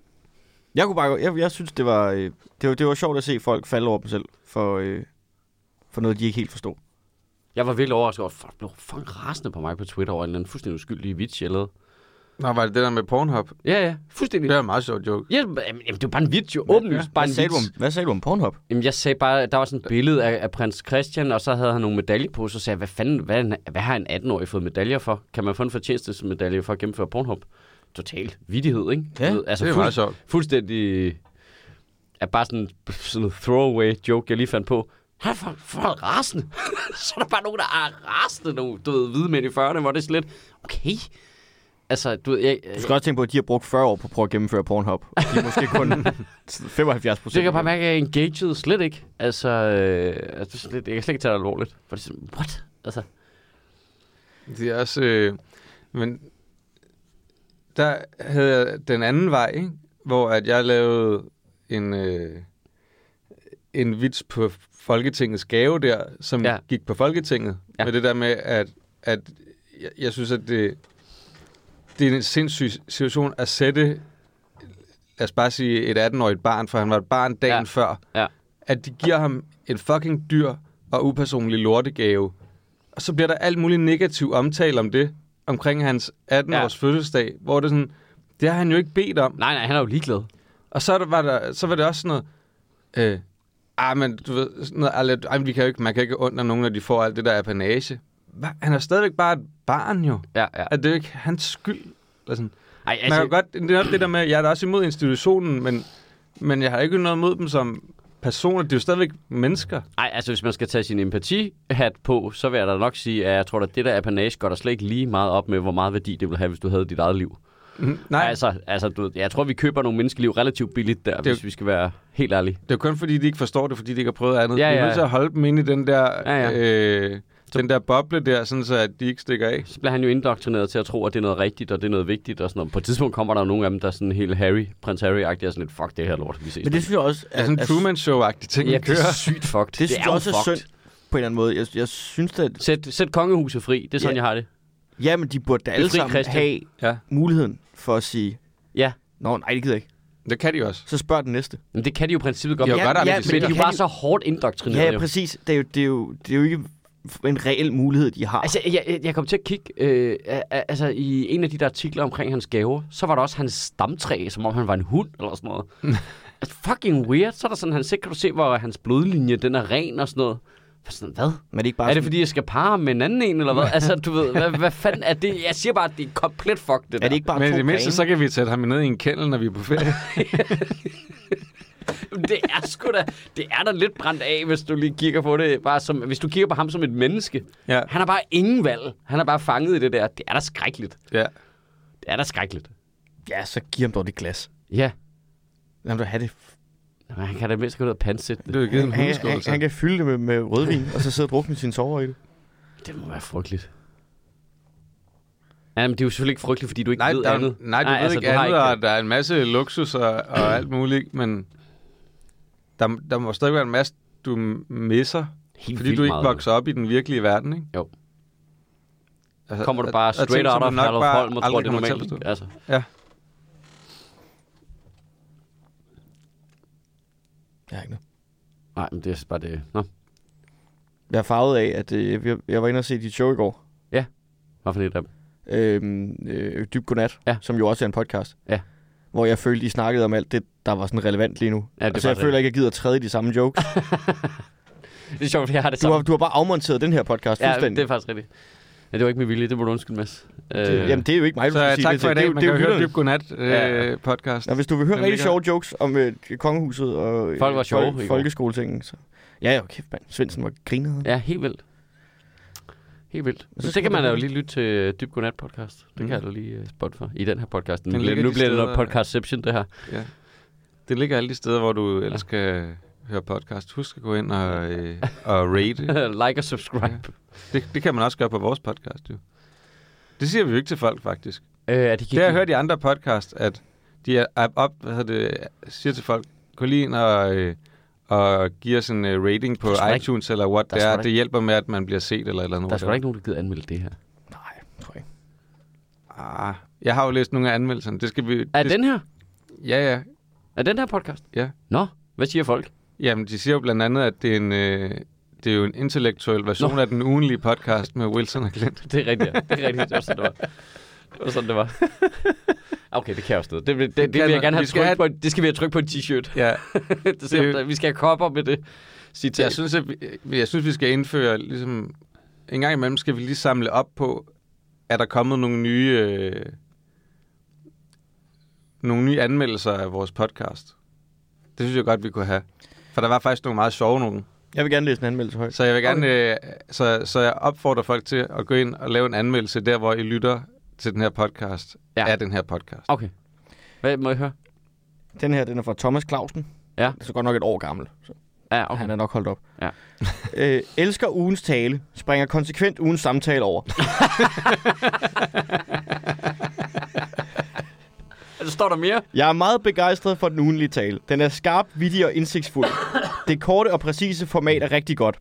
Jeg, kunne bare, godt- jeg, jeg synes, det var, øh, det, var, det var sjovt at se folk falde over dem selv for, øh, for noget, de ikke helt forstod.
Jeg var virkelig overrasket over, at folk blev fucking rasende på mig på Twitter over en eller anden fuldstændig uskyldig vits, jeg lavede.
Nå, var det det der med Pornhub?
Ja, ja, fuldstændig.
Det
Ja.
er en meget sjov joke.
Ja, men, jamen, det var bare en vits, jo. Åbenlyst bare
Hvad
en
sagde, du
vits.
om, hvad sagde du om Pornhub?
Jamen, jeg sagde bare, at der var sådan et billede af, af prins Christian, og så havde han nogle medaljer på, så sagde jeg, hvad fanden, hvad, er en- hvad har en 18-årig fået medaljer for? Kan man få en fortjenstesmedalje for at gennemføre Pornhub? Total vidighed, ikke?
Ja,
Du ved, altså,
det er
fuld,
meget sjovt.
fuldstændig er bare sådan sådan en throwaway joke, jeg lige fandt på. Han er for, for rasende. så er der bare nogen, der er rasende nu. Du ved, hvide mænd i 40'erne, hvor det er sådan lidt, okay. Altså, du ved, jeg,
Du skal også tænke på, at de har brugt 40 år på at prøve at gennemføre Pornhub. Og de er måske kun 75
Så jeg
procent.
kan bare mærke, at jeg engagede slet ikke. Altså, øh, altså det er sådan lidt, jeg kan slet ikke tage det alvorligt. For det er sådan, what? Altså,
Det er også... Øh, men der havde jeg den anden vej, ikke? hvor at jeg lavede en, øh, en vits på Folketingets gave der, som
Ja.
ja. gik på Folketinget.
Ja.
Ja. Med det der med, at, at jeg, jeg synes, at det, det er en sindssyg situation at sætte, lad os bare sige, et 18-årigt barn, for han var et barn dagen
Ja.
før,
Ja.
at de giver ham en fucking dyr og upersonlig lortegave. Og så bliver der alt muligt negativ omtale om det, omkring hans 18-års ja. fødselsdag, hvor det er sådan, det har han jo ikke bedt om.
nej, nej, han er jo ligeglad.
Og så, er der, var, der, så var det også sådan noget, øh, ah, men du ved, sådan noget, ah, lidt, ej, men vi kan jo ikke, man kan ikke undre nogen, når de får alt det der apanage. Hva? Han er stadigvæk bare et barn jo.
Ja, ja.
Er det er jo ikke hans skyld? Eller sådan.
Ej,
Man
altså,
kan godt, det er nok det der med, jeg er da også imod institutionen, men, men jeg har ikke noget imod dem som personer. De er jo stadigvæk mennesker.
ej, altså, hvis man skal tage sin empati-hat på, så vil jeg da nok sige, at jeg tror, at det der apanage går der slet ikke lige meget op med, hvor meget værdi det ville have, hvis du havde dit eget liv.
Mhm. Nej, altså,
Altså, altså du, ved, jeg tror, vi køber nogle menneskeliv relativt billigt der, det... hvis vi skal være helt ærlige.
det er jo kun fordi, de ikke forstår det, fordi de ikke har prøvet andet.
Ja,
Ja, ja. Vi
ja.
er nødt til at holde dem inde i den der,
Ja,
ja,
ja.
ja. Øh, den der boble der, sådan så at de ikke stikker af.
Så bliver han jo indoktrineret til at tro, at det er noget rigtigt, og det er noget vigtigt og sådan noget. På et tidspunkt kommer der jo nogle af dem, der er sådan helt Harry, prins Harry-agtige, og sådan lidt, fuck det her lort, vi ses.
Men Altså, det synes jeg også...
Det er sådan en Truman Show-agtig ting,
ja,
ja,
det er
kører.
sygt fucked.
Det, synes
er
jeg
jo
også er
fucked.
synd på en eller anden måde. Jeg, jeg synes da, at
Sæt, sæt kongehuset fri. Det er sådan,
Ja.
jeg har det.
ja, men de burde da alle
Befri
sammen
Christian.
have
Ja,
muligheden for at sige,
Ja.
Nå, nej, det gider jeg ikke.
det kan de også.
Så spørg den næste.
Men det kan de jo i princippet godt.
Jo,
men
godt, at
ja,
man
men
kan se
de
det
er jo
kan
bare så hårdt indoktrineret.
Ja,
jo.
ja, præcis. Det er, jo, det, er jo, det er jo ikke en reel mulighed, de har. Altså,
Altså, jeg, jeg- jeg kom til at kigge, øh, a- a- altså i en af de der artikler omkring hans gaver, så var der også hans stamtræ, som om han var en hund eller sådan noget. altså, fucking weird. Så er der sådan, han sikkert kan du se, hvor hans blodlinje, den er ren og sådan noget. For sådan, hvad?
men det er ikke bare
Er det,
sådan-
fordi jeg skal parre med en anden en, eller hvad? altså, du ved, hvad, hvad fanden er det? Jeg siger bare, at det er komplet fuck, det der.
er det ikke bare
Men i
to
det mindste,
grene?
så kan vi sætte ham ned i en kennel, når vi er på ferie.
Jamen, Det er sgu da, det er da lidt brændt af, hvis du lige kigger på det. Bare som, hvis du kigger på ham som et menneske.
ja.
Han har bare ingen valg. Han er bare fanget i det der. Det er da skrækkeligt.
ja.
Det er da skrækkeligt.
Ja, så giv ham dog det glas.
Ja.
Lad ham da have det.
Men han kan da mindst gå ned og pansætte
Du
det.
har givet en
Han, han,
hundeskål,
han, han
så.
kan fylde det med, med rødvin, og så sidde og drukne sin sover i det.
Det må være frygteligt. Ja, men det er jo selvfølgelig ikke frygteligt, fordi du ikke
Nej,
ved
der,
andet.
er- nej, du nej, ved altså, ikke
du har
andet, ikke. og
det.
der er en masse luksus og, og alt muligt, men der, der må stadig være en masse, du misser,
Helt
fordi
vildt
du ikke
meget.
vokser op i den virkelige verden, ikke?
Jo.
Altså,
Kommer du
og-
bare
og ting,
straight
som
out
du
of
nok
Herluf
bare
Holm og tror,
aldrig
det er
kommer til at
normalt.
forstå.
Altså.
Ja.
Jeg har ikke noget.
Nej, men det er bare det. Nå,
Jeg er farvet af, at øh, jeg, jeg var inde og se dit show i går.
hvad for det der?
øhm, øh, Dyb Godnat,
Ja.
ja. som jo også er en podcast.
Ja.
Hvor jeg følte, I snakkede om alt det, der var sådan relevant lige nu.
Ja, det
altså,
var
jeg
det.
føler ikke, jeg gider at træde i de samme jokes.
Det er sjovt, for jeg har det
Du
samme.
har, du har bare afmonteret den her podcast
Ja,
fuldstændig.
det er faktisk rigtigt. Ja, det var ikke med vilje, det må du undskylde, Mads. Øh,
det, jamen, det er jo ikke mig,
Så
der
øh,
skal sige
tak
det.
for i
Det er
dag.
jo-
Man
det er
kan
jo
jo høre
lytterne.
Dyb Godnat
Ja.
øh, podcast.
Nå, hvis du vil høre
Den
rigtig
ligger-
sjove jokes om øh, kongehuset og øh,
Folk var sjove i går.
fol- folkeskoletingen, så... Ja, jo, kæft, mand. Svendsen var grinet.
Ja, helt vildt. Helt vildt. Men
synes
det kan
jeg,
man
det er
jo lige lytte til øh, Dyb Godnat podcast. Det mm. kan jeg da lige øh, spotte for i den her podcast. Nu,
Mhm. Den
bliver,
ligger
nu
de
bliver det
steder,
noget podcastception, det her.
Ja. Det ligger alle de steder, hvor du ellers skal høre podcast. Husk at gå ind og, øh, og rate.
like og subscribe.
Det, det kan man også gøre på vores podcast, jo. Det siger vi jo ikke til folk, faktisk.
Øh, er det,
Det har jeg hørt i andre podcast, at de er er op, hvad hedder det, siger til folk, gå lige ind og, øh, og give os en øh, rating på
Der er sgu da ikke-
iTunes eller what
der er
det
sgu
er.
da
Det hjælper med, at man bliver set eller et eller andet.
Der er sgu da ikke nogen, der gider anmelde det her.
Nej, tror jeg ikke.
Ah, jeg har jo læst nogle af anmeldelserne. Det skal vi...
Er
det,
den her?
Ja, ja.
Er den her podcast?
Ja.
Nå, hvad siger folk?
Jamen, de siger jo blandt andet, at det er en, øh, det er jo en intellektuel version Nå. af den ugenlige podcast med Wilson og Clint.
Det er rigtigt, ja. Det er rigtigt. Det var sådan, det var. Det var sådan, det var. okay, det kan jeg også noget. Det, vil- det, det,
Det
det
kan
vil jeg
man.
gerne have
Vi skal
tryk
have-
på. en- Det skal vi have tryk på en t-shirt.
Ja,
det ser, vi skal have kopper med det. Citat.
jeg synes, at vi, øh, jeg synes, vi skal indføre, ligesom, en gang imellem skal vi lige samle op på, er der kommet nogle nye, øh, nogle nye anmeldelser af vores podcast? Det synes jeg godt, vi kunne have. For der var faktisk nogle meget sjove nogen.
Jeg vil gerne læse en anmeldelse højt.
Så jeg vil gerne, øh, så, så jeg opfordrer folk til at gå ind og lave en anmeldelse der, hvor I lytter til den her podcast,
Ja.
ja. af den her podcast.
Okay. Hvad må jeg høre?
Den her, den er fra Thomas Clausen.
Ja.
Så godt nok et år gammel. Så
Ja,
okay.
okay.
Han er nok holdt op.
Ja.
øh, elsker ugens tale. Springer konsekvent ugens samtale over.
Altså, står der mere?
Jeg er meget begejstret for den ugenlige tale. Den er skarp, vittig og indsigtsfuld. Det korte og præcise format er rigtig godt.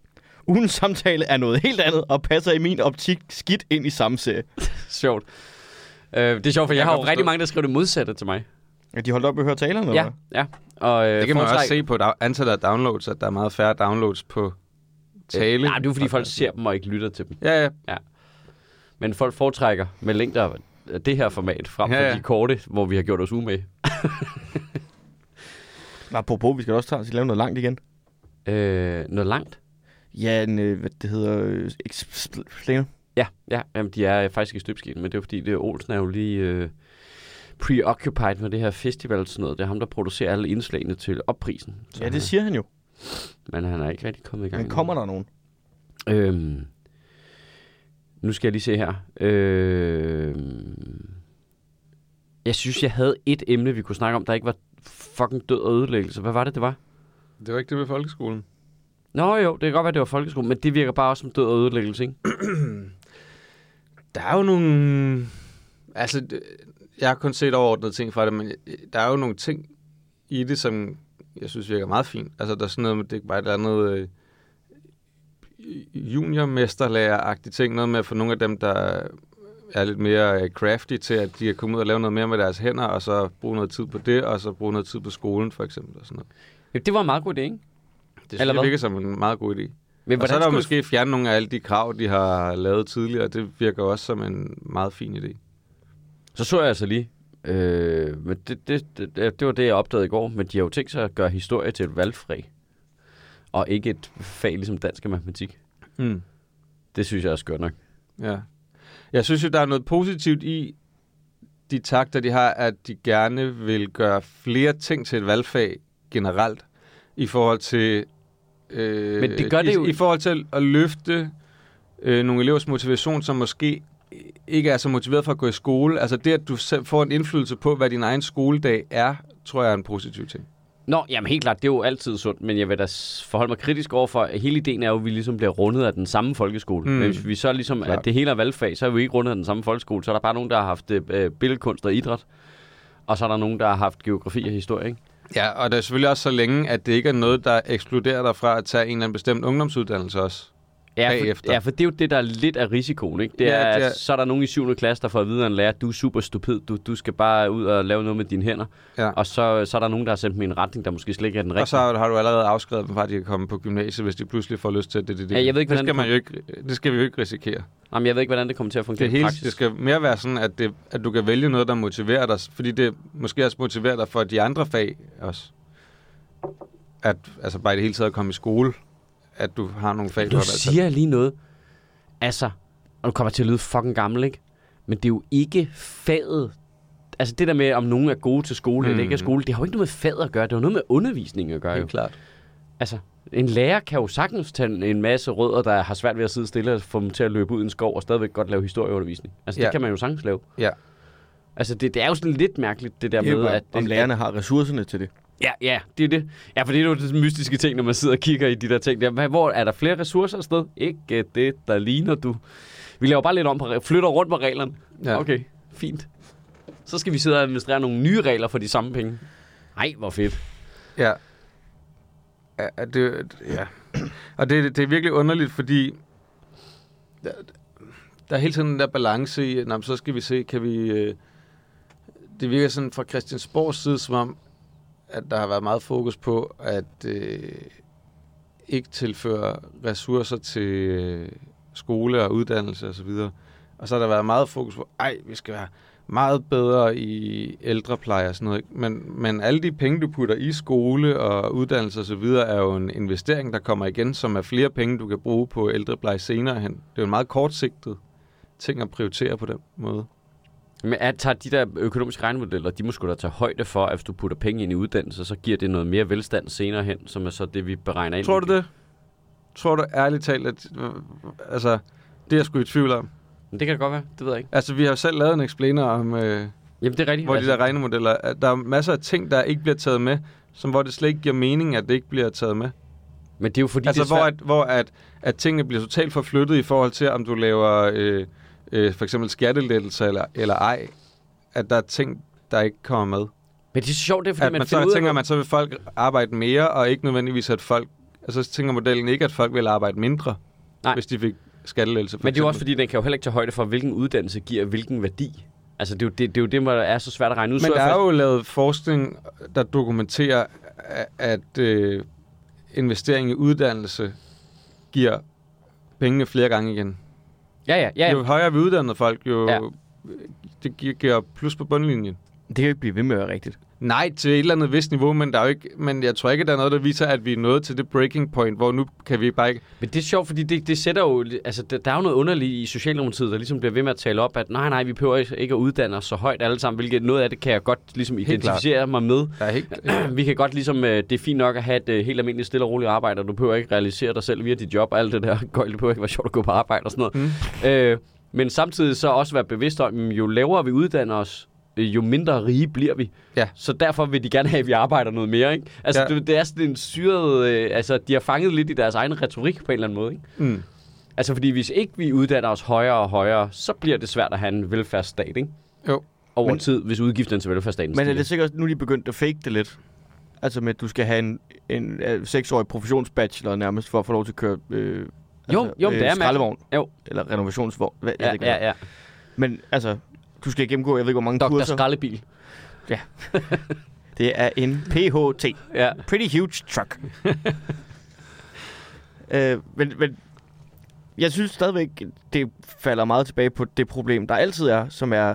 Ugens samtale er noget helt andet og passer i min optik skidt ind i samme serie.
Sjovt. Øh, det er sjovt, for jeg, jeg
Jeg
har
kan
jo
forstå.
rigtig mange, der skriver det modsatte til mig.
Er de holdt op med at høre talerne? eller
Ja,
hvad?
ja. Og, øh,
Det kan man
foretræk- Øh,
også se på da- antallet af downloads, at der er meget færre downloads på tale.
Nej, det er jo fordi, folk ser dem og ikke lytter til dem.
Ja, ja.
Men folk foretrækker med længder af det her format, frem for
Ja,
ja,
ja.
ja. de korte, hvor vi har gjort os umage.
Men Apropos, vi skal da også tage, lave noget langt igen.
Øh, noget langt?
Ja, en, øh, hvad det hedder... Øh, eks-
Ja, ja. Jamen, de er faktisk i støbskeen, men det er jo fordi, det er Olsen er jo lige øh, preoccupied med det her festival og sådan noget. Det er ham, der producerer alle indslagene til opprisen. Så
ja,
han-
det siger han jo.
Men han er ikke rigtig kommet i gang.
Men kommer der nogen?
endnu. Øhm, nu skal jeg lige se her. Øhm, jeg synes, jeg havde et emne, vi kunne snakke om, der ikke var fucking død og ødelæggelse. Hvad var det, det var?
Det var ikke det med folkeskolen.
Nå jo, det kan godt være, det var folkeskole, men det virker bare også som død og ødelæggelse, ikke?
Der er jo nogle... Altså, det- jeg har kun set overordnede ting fra det, men øh, der er jo nogle ting i det, som jeg synes virker meget fint. Altså, der er sådan noget med, det er bare et eller andet øh, juniormesterlærer-agtigt ting. Noget med at få nogle af dem, der er lidt mere øh, crafty til, at de kan komme ud og lave noget mere med deres hænder, og så bruge noget tid på det, og så bruge noget tid på skolen, for eksempel. Og sådan noget.
Jo, det var en meget god idé, ikke?
Det
Eller
synes
hvad?
jeg virker som en meget god idé.
Men
Og så er der jo
skulle-
måske fjernet nogle af alle de krav, de har lavet tidligere. Det virker også som en meget fin idé.
Så så jeg altså lige, øh, men det, det, det, det var det, jeg opdagede i går, men de har jo tænkt sig at gøre historie til et valgfag, og ikke et fag ligesom dansk og matematik. Hmm.
Mm.
Det synes jeg er skørt nok.
Ja. Jeg synes jo, der er noget positivt i de takter, de har, at de gerne vil gøre flere ting til et valgfag generelt, i forhold til... Øh,
Men det gør det
i,
jo-
I forhold til at løfte øh, nogle elevers motivation, som måske ikke er så motiveret for at gå i skole. Altså det, at du selv får en indflydelse på, hvad din egen skoledag er, tror jeg er en positiv ting.
Nå, jamen helt klart, det er jo altid sundt, men jeg vil da s- forholde mig kritisk over for, at hele ideen er jo, at vi ligesom bliver rundet af den samme folkeskole.
Mm.
Mm. Men hvis vi så ligesom,
Klart.
at det hele er valgfag, så er vi ikke rundet af den samme folkeskole, så er der bare nogen, der har haft øh, billedkunst og idræt, og så er der nogen, der har haft geografi og historie, ikke?
Ja, og det er selvfølgelig også så længe, at det ikke er noget, der ekskluderer dig fra at tage en eller anden bestemt ungdomsuddannelse også.
Ja
bagefter.
for, ja, for det er jo det, der er lidt af risikoen, ikke? Det
Ja,
er, ja,
det
det
er-
så er der nogen i 7. klasse, der får at vide af en lærer, du er super stupid, du, du skal bare ud og lave noget med dine hænder.
Ja.
Og så, så er der nogen, der har sendt mig i en retning, der måske slet ikke er den rigtige.
Og så har du allerede afskrevet dem fra, at de kan komme på gymnasiet, hvis de pludselig får lyst til det. det, det.
Ja, jeg ved ikke,
det
hvordan
skal,
det
man jo ikke, det skal vi jo ikke risikere.
Jamen, jeg ved ikke, hvordan det kommer til at fungere
Det, hele,
i praksis.
det skal mere være sådan, at, det, at du kan vælge noget, der motiverer dig, fordi det måske også motiverer dig for de andre fag også. At, altså bare i det hele taget at komme i skole, at du har nogle fag. hvor
Du
der-
siger lige noget. Altså, og du kommer til at lyde fucking gammel, ikke? Men det er jo ikke faget. Altså det der med, om nogen er gode til skole mm. eller ikke er
Mm.
skole, det har jo ikke noget med faget at gøre. Det har jo noget med undervisning at gøre. Jo.
Helt klart.
Altså, en lærer kan jo sagtens tage en masse rødder, der har svært ved at sidde stille og få dem til at løbe ud i en skov og stadigvæk godt lave historieundervisning. Altså, ja.
Ja.
det kan man jo sagtens lave.
Ja.
Altså, det, det er jo sådan lidt mærkeligt, det der
Det er jo
med,
bare,
at...
om lærerne har ressourcerne til det.
Ja, ja, det er det. Ja, for det er jo det mystiske ting, når man sidder og kigger i de der ting. Der. Hvad- Hvor er der flere ressourcer afsted? Ikke det, der ligner du. Vi laver bare lidt om på re- flytter rundt på reglerne.
Ja.
Ja. Okay, fint. Så skal vi sidde og administrere nogle nye regler for de samme penge. Nej, hvor fedt.
Ja. Ja, ja, det, ja. Og det, det er virkelig underligt, fordi der, der er hele tiden den der balance i, at nå, men så skal vi se, kan vi... øh, Det virker sådan fra Christiansborgs side, som om, at der har været meget fokus på, at øh, ikke tilføre ressourcer til øh, skole og uddannelse osv. Og, og så har der været meget fokus på, ej, vi skal være meget bedre i ældrepleje og sådan noget. ikke? Men, men alle de penge, du putter i skole og uddannelse og så videre, er jo en investering, der kommer igen, som er flere penge, du kan bruge på ældrepleje senere hen. Det er jo en meget kortsigtet ting at prioritere på den måde.
Men at tager de der økonomiske regnemodeller, de må sgu da tage højde for, at hvis du putter penge ind i uddannelse, så giver det noget mere velstand senere hen, som er så det, vi beregner ind.
Tror du det? Tror du ærligt talt, at... øh, Altså, det er jeg sgu i tvivl om.
Men det kan det godt være, det ved jeg ikke.
Altså, vi har jo selv lavet en explainer om... Øh,
Jamen, det er rigtigt.
hvor de der regnemodeller, at der er masser af ting, der ikke bliver taget med, som hvor det slet ikke giver mening, at det ikke bliver taget med.
Men det er jo fordi,
altså,
det er
hvor,
svært.
at, hvor at, at tingene bliver totalt forflyttet i forhold til, om du laver øh, øh, for eksempel skattelettelser eller, eller ej. At der er ting, der ikke kommer med.
Men det er sjovt, det er fordi,
At
man,
man
finder
så
ud af...
tænker man, så vil folk arbejde mere, og ikke nødvendigvis, at folk... Altså, så tænker modellen ikke, at folk vil arbejde mindre,
Nej.
hvis de fik skattelettelser. for
Men det er jo også
eksempel.
fordi, den kan jo heller ikke tage højde for, hvilken uddannelse giver hvilken værdi. Altså, det er jo det, det, er jo det hvor der er så svært at regne ud.
Men
så
der er
faktisk-
jo lavet forskning, der dokumenterer, a- at øh, investering i uddannelse giver pengene flere gange igen.
Ja, ja, ja.
Jo
ja.
højere vi uddanner folk, jo
Ja.
ja. det gi- giver plus på bundlinjen.
Det kan jo ikke blive ved med at være rigtigt.
Nej, til et eller andet vist niveau, men, der er jo ikke, men jeg tror ikke, at der er noget, der viser, at vi er nået til det breaking point, hvor nu kan vi bare ikke...
Men det er sjovt, fordi det, det sætter jo... Altså, der, der er jo noget underligt i Socialdemokratiet, der ligesom bliver ved med at tale op, at nej, nej, vi behøver ikke ikke at uddanne os så højt alle sammen, hvilket noget af det kan jeg godt ligesom identificere mig med.
Der er helt,
vi kan godt ligesom, øh, det er fint nok at have et øh, helt almindeligt stille og roligt arbejde, og du behøver ikke realisere dig selv via dit job og alt det der. Gøjl, det behøver ikke være sjovt at gå på arbejde og sådan noget. Mm. Øh, men samtidig så også være bevidst om, mm, jo lavere vi uddanner os, øh, jo mindre rige bliver vi.
Ja.
Så derfor vil de gerne have, at vi arbejder noget mere, ikke? Altså, ja.
Ja.
det, det er sådan en syret... Øh, altså, de har fanget lidt i deres egen retorik på en eller anden måde, ikke?
mm.
Altså, fordi hvis ikke vi uddanner os højere og højere, så bliver det svært at have en velfærdsstat, ikke?
Jo.
Over men,
Men-
tid, hvis udgifterne til velfærdsstaten
Men er
stiger.
det sikkert også, nu er de begyndt at fake det lidt? Altså med, at du skal have en, en øh, seksårig professionsbachelor nærmest, for at få lov til at køre øh,
Jo, jo,
altså,
men det er mærkeligt.
skraldevogn.
Jo.
Eller renovationsvogn. Hvad, jeg ved
Ja,
ikke, hvad det
ja, ja.
er. Men altså, du skal gennemgå, jeg ved ikke, hvor mange
Dr.
kurser.
Skraldebil.
Det er en PHT.
Ja.
Pretty huge truck. øh, men, men jeg synes stadigvæk, det falder meget tilbage på det problem, der altid er, som er,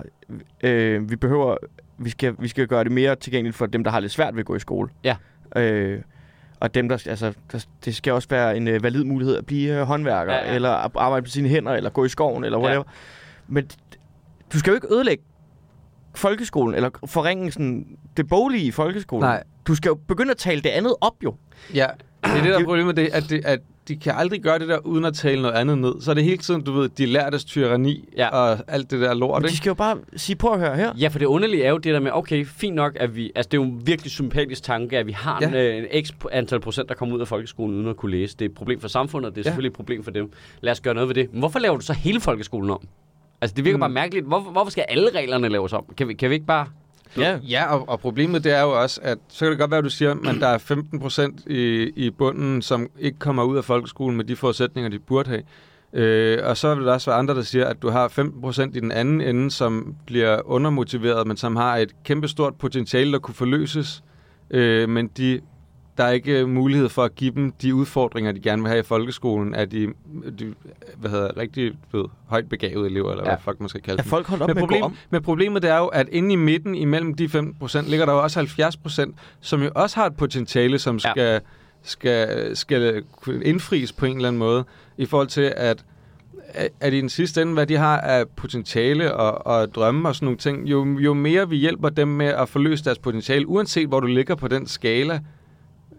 øh, vi behøver, vi skal, vi skal gøre det mere tilgængeligt for dem, der har lidt svært ved at gå i skole.
Ja.
Øh, og dem, der, altså, der, det skal også være en øh, valid mulighed at blive øh, håndværker,
Ja,
ja,
ja.
ja. eller at arbejde på sine hænder, eller gå i skoven, eller
Ja.
whatever. Ja. Men d- du skal jo ikke ødelægge folkeskolen, eller forringe sådan, det boglige i folkeskolen.
Nej.
Du skal jo begynde at tale det andet op, jo.
Ja, det er det, der er problemet, det, er, at, det, at de kan aldrig gøre det der, uden at tale noget andet ned. Så er det hele tiden, du ved, de lærtes tyranni
Ja.
ja. og alt det der lort,
Men de
ikke?
skal jo bare sige, prøv at høre her.
Ja, for det underlige er jo det der med, okay, fint nok, at vi, altså det er jo en virkelig sympatisk tanke, at vi har ja. en, øh, en x antal procent, der kommer ud af folkeskolen uden at kunne læse. Det er et problem for samfundet, og det er ja.
Ja.
selvfølgelig et problem for dem. Lad os gøre noget ved det. Men hvorfor laver du så hele folkeskolen om? Altså det virker mm. bare mærkeligt. Hvorfor, hvorfor skal alle reglerne laves om? Kan vi, kan vi ikke bare...
Ja.
Ja, og, og problemet det er jo også, at så kan det godt være, at du siger, at der er 15 procent i, i bunden, som ikke kommer ud af folkeskolen med de forudsætninger, de burde have. Øh, og så vil der også være andre, der siger, at du har 15 procent i den anden ende, som bliver undermotiveret, men som har et kæmpestort potentiale, der kunne forløses. Øh, men de, der er ikke øh, mulighed for at give dem de udfordringer, de gerne vil have i folkeskolen, af de, de hvad hedder, rigtig ved, højt begavede elever, eller
Ja.
ja. hvad fuck man skal kalde
Er
dem.
folk holdt op
Men,
med at
problem,
gå om?
men problemet det er jo, at inde i midten, imellem de 15%, ligger der jo også 70%, som jo også har et potentiale, som
Ja.
skal, ja. skal, skal kunne indfries på en eller anden måde, i forhold til, at, at i den sidste ende, hvad de har af potentiale og, og drømme og sådan nogle ting, jo, jo mere vi hjælper dem med at forløse deres potentiale, uanset hvor du ligger på den skala,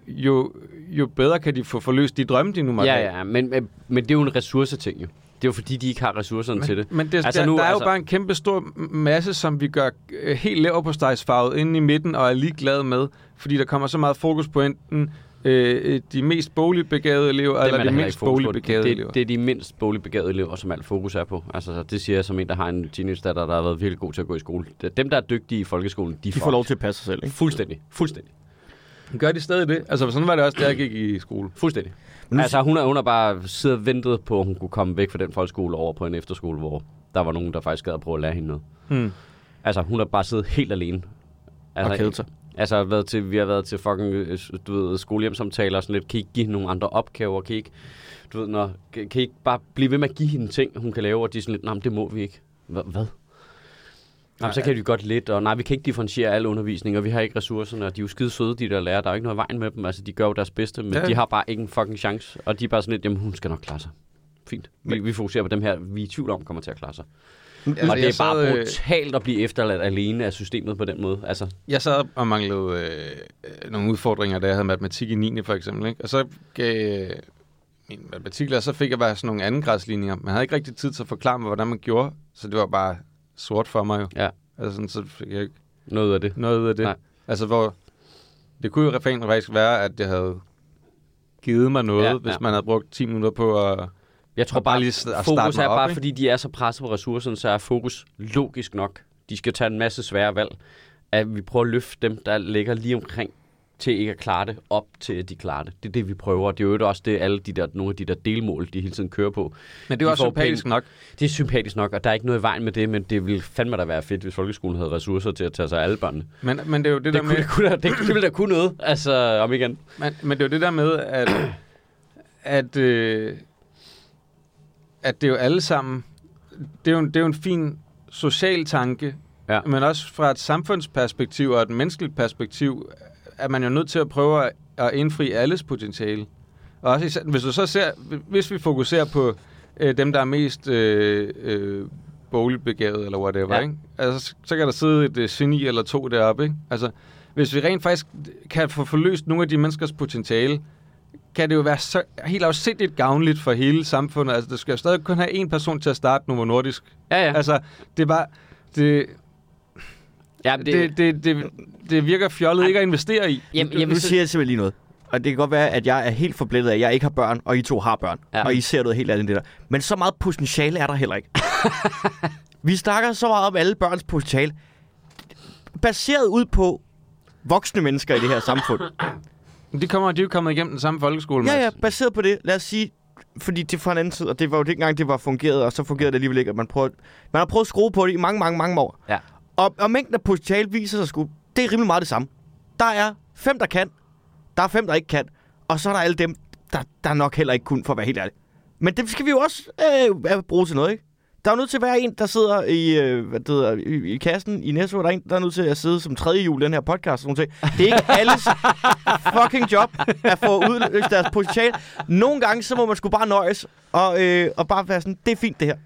jo, jo bedre kan de få forløst de drømme, de nu måtte have.
Ja, ja, men, men, men det er jo en ressourceting jo. Det er jo fordi, de ikke har ressourcerne til det.
Men det, altså, der, nu, der er altså... jo bare en kæmpe stor masse, som vi gør øh, helt lav på stegsfarvet inde i midten og er ligeglade med, fordi der kommer så meget fokus på enten øh, øh, de mest boligbegavede elever,
Dem er der
eller de
heller
mindst
ikke fokus på.
boligbegavede
det,
elever.
Det, det er de mindst boligbegavede elever, som alt fokus er på. Altså, så det siger jeg som en, der har en teenage-datter, der har været virkelig god til at gå i skole. Dem, der er dygtige i folkeskolen, de,
De får lov til at passe sig selv, ikke?
Fuldstændig. Fuldstændig.
det. Gør de stadig det? Altså, sådan var det også, da jeg gik i skole.
Fuldstændig.
Men nu-
altså, hun har, hun har bare siddet og ventet på, at hun kunne komme væk fra den folkeskole over på en efterskole, hvor der var nogen, der faktisk gad at prøve at lære hende noget.
Hmm.
Altså, hun har bare siddet helt alene. Altså,
Og kedet sig.
Altså, været til, vi har været til fucking øh, du ved, skolehjemsamtaler og sådan lidt. Kan I ikke give hende nogle andre opgaver? Kan I ikke, du ved, når, kan kan I ikke bare blive ved med at give hende ting, hun kan lave? Og de er sådan lidt, nej, det må vi ikke. Hva- Hvad? Jamen, så kan vi godt lidt, og nej, vi kan ikke differentiere al undervisning, og vi har ikke ressourcerne, og de er jo skide søde, de der lærer. Der er jo ikke noget i vejen med dem, altså de gør jo deres bedste, men ja.
Ja.
de har bare ikke en fucking chance. Og de er bare sådan lidt, jamen hun skal nok klare sig. fint. Vi, vi fokuserer på dem her, vi er i tvivl om kommer til at klare sig.
Altså,
Altså, og det
jeg
er bare
sad, øh,
brutalt at blive efterladt alene af systemet på den måde. Altså,
Jeg sad og manglede øh, øh, nogle udfordringer, da jeg havde matematik i 9. for eksempel. Ikke? Og så gav øh, min matematiklærer, så fik jeg bare sådan nogle andengradslinjer. Man havde ikke rigtig tid til at forklare mig, hvordan man gjorde, så det var bare sort for mig jo.
Ja.
Altså sådan, så fik jeg ikke
noget af det.
noget ud af det.
Nej.
Altså hvor, det kunne jo rent faktisk være, at det havde givet mig noget,
Ja,
ja,
ja.
hvis man havde brugt 10 minutter på at...
Jeg tror
Og bare
bare,
lige s- at starte
fokus
mig
er
op,
bare,
ikke?
fordi de er så presset på ressourcerne, så er fokus logisk nok. De skal tage en masse svære valg. At vi prøver at løfte dem, der ligger lige omkring til ikke at klare det, op til at de klarer det. Det er det, vi prøver. Det er jo i øvrigt også det, alle de der, nogle af de der delmål, de hele tiden kører på.
Men
De
det var også
får
sympatisk
penge.
nok.
Det er sympatisk nok, og der er ikke noget i vejen med det, men det ville fandme da være fedt, hvis folkeskolen havde ressourcer til at tage sig af alle børnene. Det,
Men, men det er jo det,
det,
der
kunne,
med...
det, kunne, da- det, det ville da kunne noget, altså om igen.
Men, men det er jo det der med, at, at, øh, at det er jo alle sammen, det er jo, en- det er jo en fin social tanke,
Ja.
men også fra et samfundsperspektiv og et menneskeligt perspektiv, er man jo nødt til at prøve at, at indfri alles potentiale. Og også især, hvis du så ser, hvis vi fokuserer på øh, dem, der er mest øh, øh, boligbegavet eller whatever,
Ja.
ja. ikke? Altså, så- så kan der sidde et øh, geni eller to deroppe, ikke? Altså, hvis vi rent faktisk kan få forløst nogle af de menneskers potentiale, kan det jo være så helt afsindigt gavnligt for hele samfundet. Altså, det skal jo stadig kun have én person til at starte Novo Nordisk.
Ja, ja.
Ja. Altså, det er bare... Det,
ja
det, det, det, det, det virker fjollet ikke at investere i.
Jamen, jeg nu
vil
siger jeg simpelthen lige noget. Og det kan godt være, at jeg er helt forblindet af, at jeg ikke har børn, og I to har børn.
Ja.
Ja. Og I ser noget helt andet end det der. Men så meget potentiale er der heller ikke. Vi snakker så meget om alle børns potentiale. Baseret ud på voksne mennesker i det her samfund.
Men De, kommer, de er jo kommet igennem den samme folkeskole.
Ja,
Mads.
ja, baseret på det. Lad os sige, fordi det er fra en anden tid, og det var jo det engang, det var fungeret, og så fungerede det alligevel ikke, at man prøver, man har prøvet at skrue på det i mange, mange, mange år.
Ja.
Og, og mængden af potentiale viser sig sgu, det er rimelig meget det samme. Der er fem, der kan, der er fem, der ikke kan, og så er der alle dem, der, der nok heller ikke kunne, for at være helt ærlig. Men det skal vi jo også øh, bruge til noget, ikke? Der er jo nødt til at være en, der sidder i, øh, hvad det hedder, i, i kassen i Netto, og der er en, der er nødt til at sidde som tredje hjul i den her podcast. Og sådan nogle ting. Det er ikke alles fucking job at få udløst deres potentiale. Nogle gange, så må man sgu bare nøjes og, øh, og bare være sådan, det er fint det her.
Nå,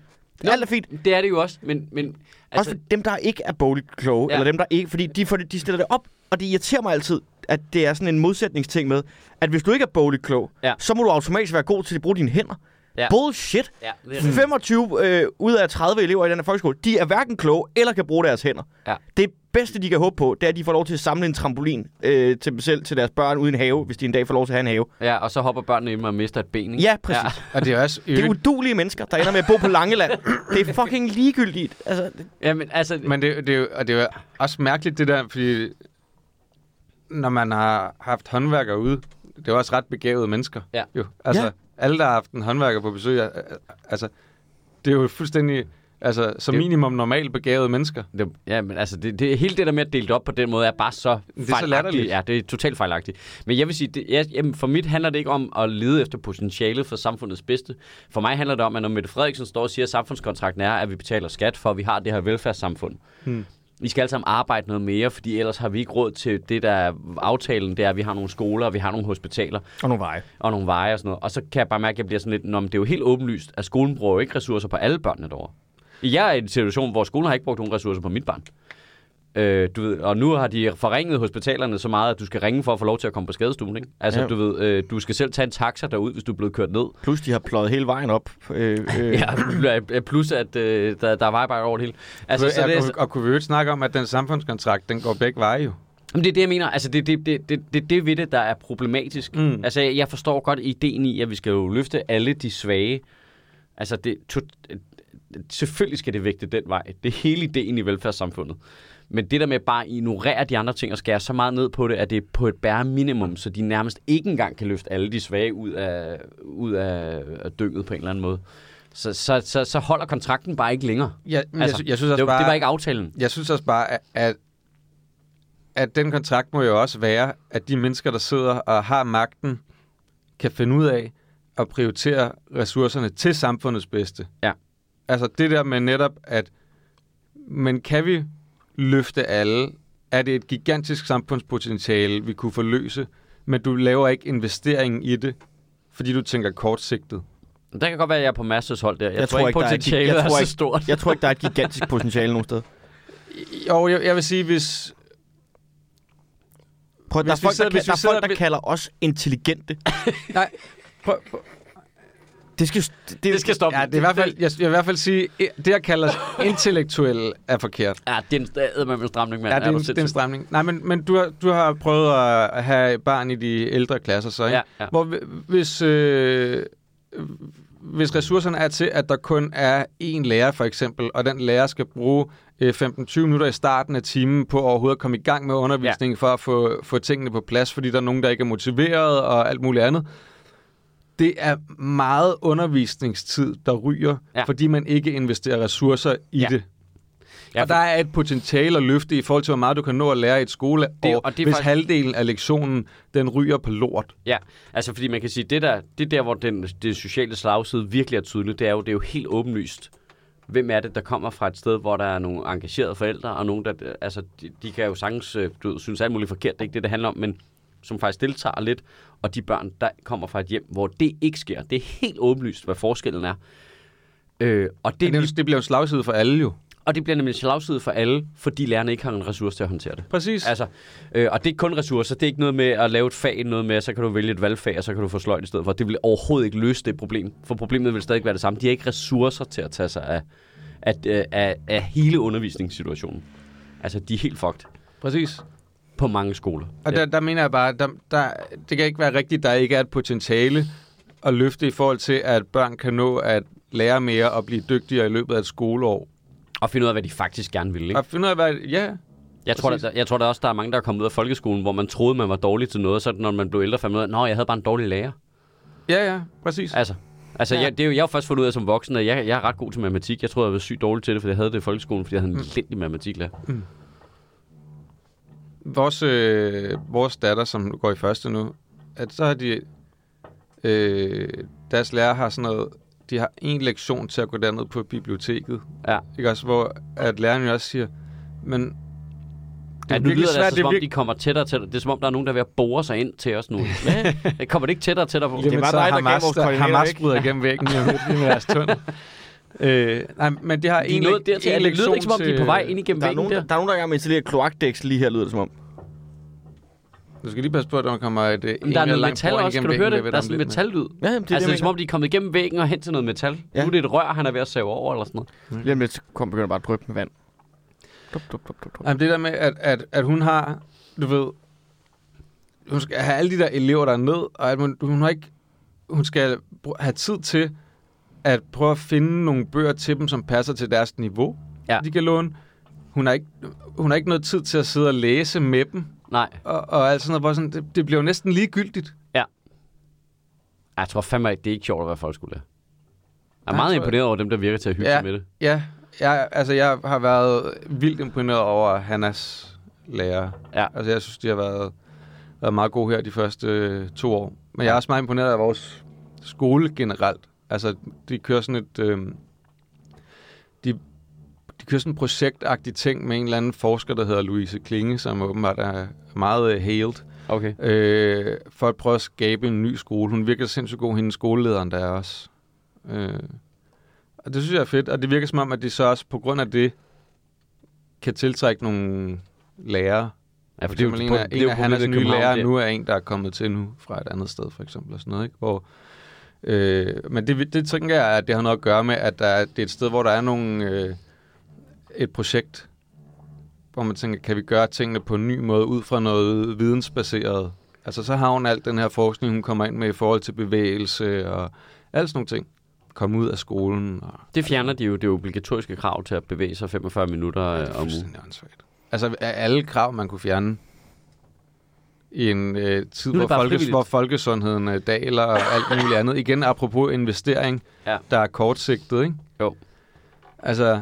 Nå, Alt er fint.
Det er det jo også, men... men
Altså, også for dem, der ikke er bogligt kloge,
Ja.
ja. eller dem, der ikke, fordi de, får det, de stiller det op, og det irriterer mig altid, at det er sådan en modsætningsting med, at hvis du ikke er bogligt klog,
Ja.
ja. så må du automatisk være god til at bruge dine hænder.
Ja.
Ja. Bullshit!
ja, det er
25 øh, ud af 30 elever i den her folkeskole, de er hverken kloge eller kan bruge deres hænder.
Ja.
Det bedste, de kan håbe på, det er, at de får lov til at samle en trampolin øh, til dem selv, til deres børn uden have, hvis de en dag får lov til at have en have.
Ja, og så hopper børnene ind og mister et ben, ikke?
Ja, præcis. Ja.
Og det er også...
Det er udulige mennesker, der ender med at bo på Langeland. det er fucking ligegyldigt. Altså,
Ja, men altså... Men,
Men det, det, er jo, og det er jo også mærkeligt, det der, fordi når man har haft håndværkere ude, det er jo også ret begavede mennesker.
Ja.
Jo. Altså,
Ja.
alle, der har haft en håndværker på besøg, er- er- altså, det er jo fuldstændig, altså, som
Det-
minimum normalt begavede mennesker.
det, ja, men altså, det, det, hele det der med at dele det op på den måde er bare så
er så
fejlagtigt.
latterligt.
Ja, det er totalt fejlagtigt. Men jeg vil sige, det, jeg, jamen, for mit handler det ikke om at lede efter potentialet for samfundets bedste. For mig handler det om, at når Mette Frederiksen står og siger, at samfundskontrakten er, at vi betaler skat for, at vi har det her velfærdssamfund. Hmm. Vi skal alle sammen arbejde noget mere, fordi ellers har vi ikke råd til det, der er aftalen, det er, at vi har nogle skoler, og vi har nogle hospitaler.
og nogle veje.
og nogle veje og sådan noget. Og så kan jeg bare mærke, at jeg bliver sådan lidt, Nå, men det er jo helt åbenlyst, at skolen bruger jo ikke ressourcer på alle børnene derovre. Jeg er i en situation, hvor skolen har ikke brugt nogen ressourcer på mit barn. Øh, du ved, og nu har de forringet hospitalerne så meget, at du skal ringe for at få lov til at komme på skadestuen. Ikke? Altså, ja.
Ja.
du ved, øh, du skal selv tage en taxa derud, hvis du er blevet kørt ned.
Plus, de har pløjet hele vejen op. Øh, øh, ja.
Ja, plus at øh, der, der er vejarbejde over det hele. Altså,
Altså,
så det, er,
og, og kunne vi jo ikke snakke om, at den samfundskontrakt, den går begge veje jo.
Jamen, det er det, jeg mener. Altså, det er det, det, det, det, det ved det, der er problematisk. Mm.
Mm.
Altså, jeg forstår godt ideen i, at vi skal jo løfte alle de svage. Altså, det, to, selvfølgelig skal det vægte den vej. Det er hele ideen i velfærdssamfundet. Men det der med bare at ignorere de andre ting og skære så meget ned på det, at det er på et bare minimum, så de nærmest ikke engang kan løfte alle de svage ud af, ud af, af dynget på en eller anden måde. Så, så, så, så holder kontrakten bare ikke længere.
Ja, men
Altså,
altså, jeg, sy- jeg synes også
Det var,
bare...
det var ikke aftalen.
Jeg synes også bare, at, at, at den kontrakt må jo også være, at de mennesker, der sidder og har magten, kan finde ud af at prioritere ressourcerne til samfundets bedste.
Ja.
Altså det der med netop, at men kan vi løfte alle? Er det et gigantisk samfundspotentiale, vi kunne forløse, men du laver ikke investeringen i det, fordi du tænker kortsigtet?
Men Det kan godt være, at jeg er på Masters hold der. Jeg,
Jeg
tror,
tror
ikke,
ikke, der er et-
potentialet
jeg
er
tror
så
ikke-
stort.
Jeg tror ikke, der er et gigantisk potentiale nogen sted.
Jo, jeg, jeg vil sige, hvis...
Prøv, der er
Hvis vi
folk,
sidder-
der, kan,
hvis vi
der, er folk,
sidder-
der kalder os intelligente.
Nej, prøv, prøv.
Det skal, det,
Det skal stoppe.
Ja, det er i hvert fald, jeg, jeg vil i hvert fald sige, det jeg kalder intellektuelle er forkert.
Ja, det er en stadig med en stramning, mand.
Ja, det er, en,
du
det er en
sindssyg?
stramning. Nej, men, men du, har, du har prøvet at have barn i de ældre klasser, så ikke?
Ja, ja.
Hvor, hvi- hvis, øh, hvis ressourcerne er til, at der kun er én lærer, for eksempel, og den lærer skal bruge øh, 15-20 minutter i starten af timen på overhovedet at komme i gang med undervisningen ja. for at få, få tingene på plads, fordi der er nogen, der ikke er motiveret og alt muligt andet. Det er meget undervisningstid, der ryger,
Ja.
ja. fordi man ikke investerer ressourcer i
Ja.
ja. det.
Ja,
Ja, og der
for-
er et potentiale at løfte i forhold til, hvor meget du kan nå at lære i et skoleår,
Det-
det,
og
og
det er
hvis
faktisk-
faktisk... halvdelen af lektionen, den ryger på lort.
Ja, altså fordi man kan sige, det der, det der hvor den, det sociale slagside virkelig er tydeligt, det er jo, det er jo helt åbenlyst. Hvem er det, der kommer fra et sted, hvor der er nogle engagerede forældre, og nogle, der, altså, de, de kan jo sagtens, øh, du ved, synes alt muligt forkert, det er ikke det, det handler om, men som faktisk deltager lidt, og de børn, der kommer fra et hjem, hvor det ikke sker. Det er helt åbenlyst, hvad forskellen er. Øh, og, det,
Det, det, det bliver en slagside for alle jo.
og det bliver nemlig en slagside for alle, fordi lærerne ikke har en ressource til at håndtere det.
Præcis. Altså,
Altså, øh, og det er ikke kun ressourcer. Det er ikke noget med at lave et fag, noget med, at så kan du vælge et valgfag, og så kan du få sløjt i stedet for. Det vil overhovedet ikke løse det problem, for problemet vil stadig være det samme. De har ikke ressourcer til at tage sig af, at, øh, af, af hele undervisningssituationen. Altså, de er helt fucked
Præcis.
på mange skoler.
Og der, der mener jeg bare, der, der, det kan ikke være rigtigt, der ikke er et potentiale at løfte i forhold til, at børn kan nå at lære mere og blive dygtigere i løbet af et skoleår.
Og finde ud af, hvad de faktisk gerne vil. Ikke?
Og finde ud af, hvad... Ja,
Jeg tror,
Præcis.
der, jeg tror der også, der er mange, der er kommet ud af folkeskolen, hvor man troede, man var dårlig til noget, og så når man blev ældre, fandt man ud af, nå, jeg havde bare en dårlig lærer.
ja, ja, præcis.
Altså, altså
Ja.
ja. jeg, det er jo, jeg har jo først fundet ud af som voksen, at jeg, jeg er ret god til matematik. Jeg tror, jeg var sygt dårlig til det, fordi jeg havde det i folkeskolen, fordi jeg havde en elendig matematiklærer.
Vores, øh, vores datter, som går i første nu, at så har de... Øh, deres lærer har sådan noget... De har en lektion til at gå derned på biblioteket.
Ja.
Ikke også? Hvor at læreren jo også siger, men... Det
Det er ja, nu lyder det altså, som om
virke-
de kommer tættere og tættere. Det er som om, der er nogen, der er ved at bore sig ind til os nu. det kommer det ikke tættere og tættere på.
Det
Jamen,
var
så
dig, der
er
gav
Hamas,
vores koordinater
Hamas
væk.
bryder igennem væggen lige om lidt lige med deres tunnel. Øh, nej, men det har
De er
en,
nået
lek-
dertil,
en
at det lyder
lektion
ikke som om, de er på vej ind igennem
der, er
væggen
nogen, der,
der.
der er nogen, der er i gang med at installere kloakdæks lige her, lyder det som om.
Du skal lige passe på, at der kommer et øh,
Men der er
en
noget
lang
metal
boring
også, kan
igennem
du høre
væggen
det?
ved
Der er
dig om
sådan
lidt,
en metallyd.
Ja, jamen, det
Altså,
er
det er
det,
som om, de er kommet igennem væggen og hen til noget metal. Nu
Ja.
er det et rør, han er ved at save over eller sådan noget.
mand. Lige om lidt, så kom begynder bare at dryppe med vand. Dup, dup, dup, dup, dup.
Jamen, det der med, at, at, at hun har, du ved, hun skal have alle de der elever der ned, og at hun, hun har ikke, hun skal br- have tid til at prøve at finde nogle bøger til dem, som passer til deres niveau,
Ja.
de kan låne. Hun har, ikke, hun har ikke noget tid til at sidde og læse med dem,
Nej,
og, og alt sådan noget, hvor sådan, det, det bliver jo næsten ligegyldigt.
jeg tror fandme ikke, det er ikke sjovt at være folkeskolelærer. Jeg er
Nej,
meget
jeg tror-
imponeret over dem, der virker til at hygge
Ja.
sig med det.
Ja, jeg, altså jeg har været vildt imponeret over Hannas lærer.
Ja.
Altså jeg synes, de har været, været meget gode her de første øh, to år. Men jeg er også meget imponeret af vores skole generelt. Altså de kører sådan et... Øh, de, de kører sådan en projektagtig ting med en eller anden forsker, der hedder Louise Klinge, som åbenbart er meget øh, hailed
Okay.
øh, for at prøve at skabe en ny skole. Hun virker sindssygt god, hende skolelederen der er også. Øh, og det synes jeg er fedt, og det virker som om, at de så også på grund af det kan tiltrække nogle lærere.
Ja,
For det er jo, en, af, en af hans nye lærere nu er en, der er kommet til nu fra et andet sted, for eksempel. Og sådan noget, ikke? Hvor, øh, men det, det tænker jeg, at det har noget at gøre med, at der, er- det er et sted, hvor der er nogle, øh, et projekt, hvor man tænker, kan vi gøre tingene på en ny måde, ud fra noget vidensbaseret. Altså så har hun alt den her forskning, hun kommer ind med i forhold til bevægelse og alt sådan nogle ting. Komme ud af skolen. Og,
Det fjerner de jo det obligatoriske krav til at bevæge sig 45 minutter
Ja, det er
øh, om ugen.
fuldstændig åndssvagt. Altså af alle krav, man kunne fjerne i en øh, tid,
Nu er
hvor,
det bare
folkes,
frivilligt.
hvor folkesundheden øh, daler og alt muligt andet. Igen apropos investering,
Ja.
der er kortsigtet, ikke?
Jo.
Altså,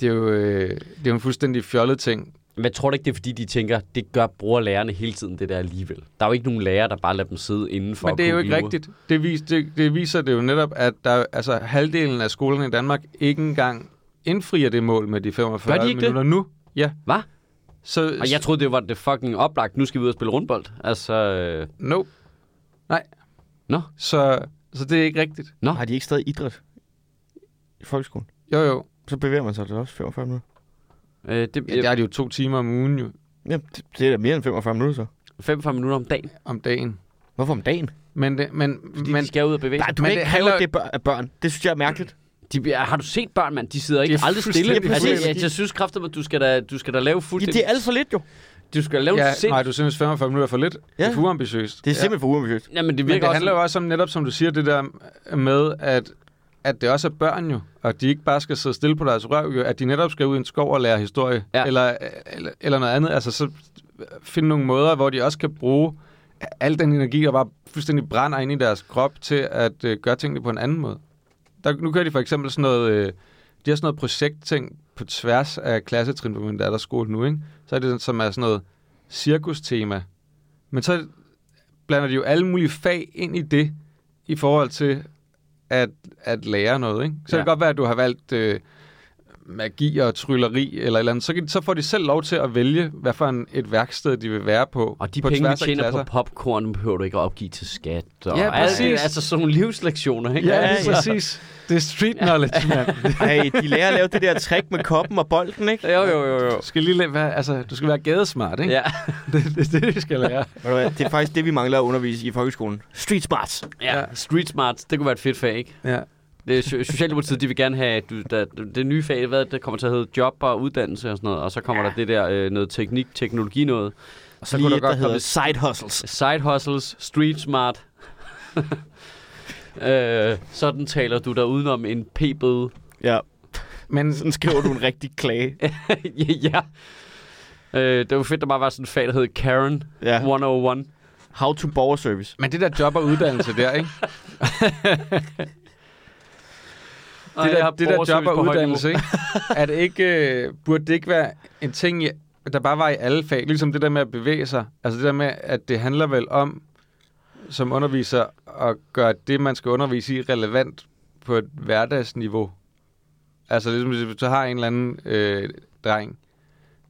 det er jo, øh, det er jo en fuldstændig fjollet ting.
Men jeg tror da ikke, det er fordi, de tænker, det gør bruger lærerne hele tiden det der alligevel. Der er jo ikke nogen lærer, der bare lader dem sidde indenfor.
Men
og
det er jo
kunne
ikke
lyve.
rigtigt. Det, vis, det, det viser det jo netop, at der, altså, halvdelen af skolerne i Danmark ikke engang indfrier det mål med de 45
Gør de ikke det?
minutter nu. Ja.
Hva?
Så,
Og jeg troede, det var det fucking øh, oplagt. Nu skal vi ud og spille rundbold. Altså, øh,
Nope. Nej.
Nå.
Så, Så det er ikke rigtigt.
Nå.
Har de ikke stadig idræt i folkeskolen?
Jo, jo.
Så bevæger man sig det er også 45 minutter.
Øh, det,
Ja, der er det jo to timer om ugen jo,
Jamen, det, det er da mere end 45 minutter så.
45 minutter om dagen,
om dagen.
Hvorfor om dagen?
Men, det, men,
fordi men,
men
de skal ud og bevæge
Nej,
sig.
du kan
men
ikke
det
kræve,
handler-
at det er bør- af børn. Det synes jeg er mærkeligt.
De, bliver- har du set børn, mand? De sidder ikke
Det er
aldrig stille.
fuldstændig
Altså, jeg,
fuldstændig.
jeg, jeg synes kraftigt, at du skal da, du skal da lave
Det,
fuldstændig...
det er alt for lidt jo.
Du skal lave ja,
ja,
sind...
nej, du synes 45 minutter er for lidt. Ja. Det er for uambitiøst.
Det er
ja.
simpelthen for uambitiøst.
Jamen, det
Men
virker
det
også...
handler jo også om, netop som du siger, det der med, at, at det også er børn jo, og de ikke bare skal sidde stille på deres røv, jo, at de netop skal ud i en skov og lære historie,
Ja.
ja. eller, eller, eller noget andet. Altså så finde nogle måder, hvor de også kan bruge al den energi, der bare fuldstændig brænder ind i deres krop, til at øh, gøre tingene på en anden måde. Der, nu kører de for eksempel sådan noget, øh, de har sådan noget projektting på tværs af klassetrin på min datters skole nu, ikke? Så er det sådan, som er sådan noget cirkustema. Men så blander de jo alle mulige fag ind i det, i forhold til at, at lære noget. Ikke? Så ja.
Ja.
det kan godt være, at du har valgt øh, magi og trylleri eller et eller andet. Så, kan, så får de selv lov til at vælge, hvad for en, et værksted de vil være på.
Og de
på
penge, vi
tværs af
tjener på
klasser.
popcorn, behøver du ikke at opgive til skat. Og
Ja,
alt-
præcis.
Altså sådan nogle livslektioner, ikke? Altså.
Ja,
Ja,
ja,
ja.
ja, præcis. Det er street knowledge, mand.
Ej, de lærer at lave det der trick med koppen og bolden, ikke?
Jo, jo, jo, jo.
Du skal lige lade være, altså, du skal være gadesmart, ikke?
Ja.
Det, det, er det, vi skal lære.
Ved du hvad, Det er faktisk det, vi mangler at undervise i folkeskolen. Street smarts.
ja, street smart, det kunne være et fedt fag, ikke?
Ja.
Det er so- Socialdemokratiet, de vil gerne have, at du, der, det nye fag, hvad der kommer til at hedde job og uddannelse og sådan noget, og så kommer ja. der det der øh, noget teknik, teknologi noget.
Og så
Lige
kunne der
et,
godt
der
hedder side hustles.
Side hustles, street smart. øh, sådan taler du der udenom en p-bøde.
Ja,
Men
sådan skriver du en rigtig klage.
ja. Øh, det var fedt, der bare var sådan et fag, der hed Karen
Ja.
101.
How to borgerservice.
Men det der job og uddannelse der, ikke?
Og
Det
jeg
der,
har
det der job
borgerservice
og
på højt
uddannelse, ikke? Er det ikke, øh, burde det ikke være en ting, i- der bare var i alle fag? Ligesom det der med at bevæge sig. Altså det der med, at det handler vel om, som underviser, at gøre det, man skal undervise i, relevant på et hverdagsniveau. Altså ligesom hvis du har en eller anden øh, dreng,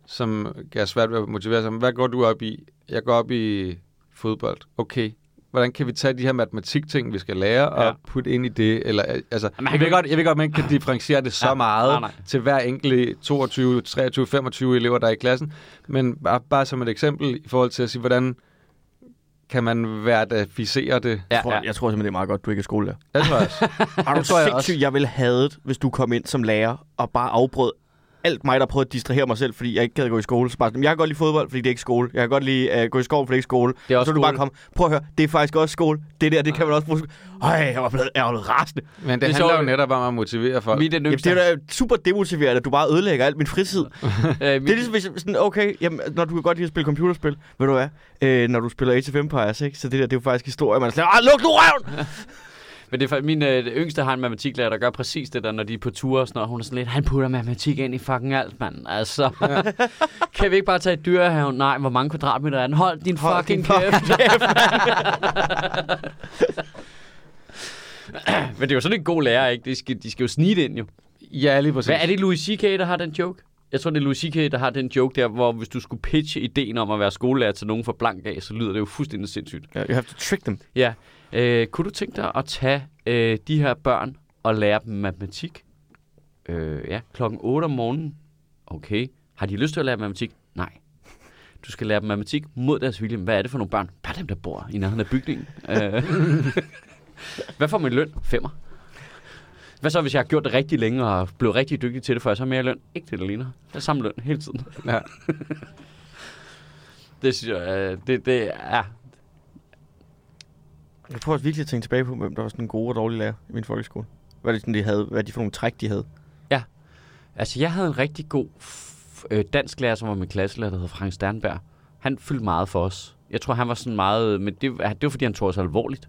som er svært ved at motivere sig. Men hvad går du op i? Jeg går op i fodbold. Okay. Hvordan kan vi tage de her matematikting, vi skal lære, og
Ja.
ja. putte ind i det? Eller, øh, altså,
Jamen, han
jeg,
kan
ved godt, jeg ved godt, man ikke kan differentiere det så
Ja.
ja. meget
Nej, nej.
til hver enkelt øh, 22, 23, 25 elever, der er i klassen. Men bare, bare som et eksempel i forhold til at sige, hvordan kan man hverdagisere det? Altså,
Jeg, tror, jeg tror simpelthen, det er meget godt, du ikke er skolelærer.
Det tror jeg også.
Er du
tror jeg også.
sindssyg, jeg ville have det, hvis du kom ind som lærer og bare afbrød alt mig, der prøvede at distrahere mig selv, fordi jeg ikke gad gå i skole. Så bare sådan, jeg kan godt lide fodbold, fordi det er ikke skole. Jeg kan godt lide uh, gå i skov, fordi det er ikke skole.
Det er
så
også
vil du bare
skole.
komme, prøv at høre, det er faktisk også skole. Det der, det kan man også bruge. Øj, jeg var blevet, jeg var blevet rasende.
Men det,
Det er
det handler
sjovt.
jo netop om at motivere folk.
Mit er den
Jamen, det
yngste.
er da super demotiverende, at du bare ødelægger alt min fritid.
øh, mit,
Det er ligesom, hvis jeg sådan, okay, jamen, når du kan godt lide at spille computerspil, ved du hvad, øh, når du spiller Age of Empires, ikke, så det der, det er jo faktisk historie, man er sådan, ah, luk nu røven!
Men det er, fa- min øh, yngste har en matematiklærer, der gør præcis det der, når de er på ture og sådan noget. Hun er sådan lidt, han putter matematik ind i fucking alt, mand. Altså, ja. kan vi ikke bare tage et dyrehaven? Nej, hvor mange kvadratmeter er den? Hold din Hold
Hold
fucking
din
kæft. Men det er jo sådan en god lærer, ikke? De skal, de skal jo snige det ind, jo.
Ja, lige præcis.
Hvad er det Louis C.K., der har den joke? Jeg tror, det er Louis C.K., der har den joke der, hvor hvis du skulle pitche ideen om at være skolelærer til nogen for blank af, så lyder det jo fuldstændig sindssygt.
Yeah, you have to trick them.
Ja. Øh, kunne du tænke dig at tage øh, de her børn og lære dem matematik? Øh, ja, klokken 8 om morgenen. Okay. Har de lyst til at lære matematik? Nej. Du skal lære dem matematik mod deres vilje. Hvad er det for nogle børn? Bare dem, der bor i nærheden af bygningen. Øh. Hvad får min løn? Femmer. Hvad så, hvis jeg har gjort det rigtig længe og blevet rigtig dygtig til det før, så har jeg mere løn? Ikke det, der ligner. Det er samme løn hele tiden.
Ja.
Det synes jeg, øh, det, det er...
Jeg prøver virkelig at tænke tilbage på, hvem der var sådan en god og dårlig lærer i min folkeskole. Hvad det sådan, de havde, hvad de for nogle træk, de havde.
Altså, jeg havde en rigtig god f- øh, dansklærer, som var min klasselærer, der hed Frank Sternberg. Han fyldte meget for os. Jeg tror, han var sådan meget... Men det, ah, det var, fordi han tog os alvorligt.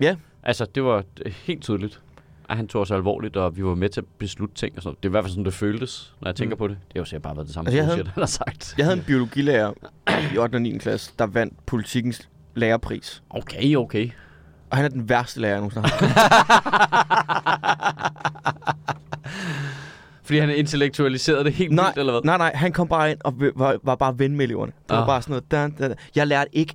Ja.
Altså, det var øh, helt tydeligt, at han tog os alvorligt, og vi var med til at beslutte ting og sådan noget. Det er i hvert fald sådan, det føltes, når jeg tænker på det. Det har jo sikkert bare været det samme,
Mm. Altså, jeg
altså,
havde-
bullshit, han har sagt.
Jeg havde en biologilærer i 8. og 9. klasse, der vandt politikens lærerpris.
Okay, okay.
Og han er den værste lærer, jeg nogensinde har. haft.
Fordi han intellektualiserede det helt
nej,
vildt, eller hvad?
nej, nej, han kom bare ind og v- var, var bare ven med eleverne. Det var
Ah.
bare sådan noget. Dan, dan, dan. Jeg lærte ikke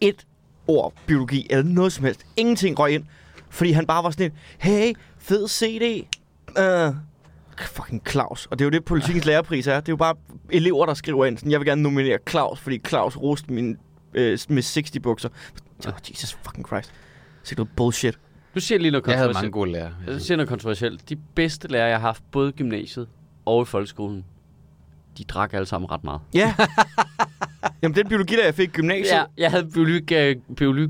et ord biologi eller noget som helst. Ingenting røg ind. Fordi han bare var sådan en, hey, fed CD. Uh, fucking Claus. Og det er jo det, politikens lærerpris er. Det er jo bare elever, der skriver ind. Sådan, jeg vil gerne nominere Claus, fordi Claus roste min øh, med 60 bukser.
Ah.
Oh, Jesus fucking Christ. Så noget bullshit.
Du siger lige noget
Jeg havde
kontroversielt.
mange gode lærere.
Jeg siger Altså, noget kontroversielt. De bedste lærere, jeg har haft, både i gymnasiet og i folkeskolen, de drak alle sammen ret meget.
Ja. Jamen, den biologilærer, jeg fik i gymnasiet,
Ja, jeg havde biologi... biologi...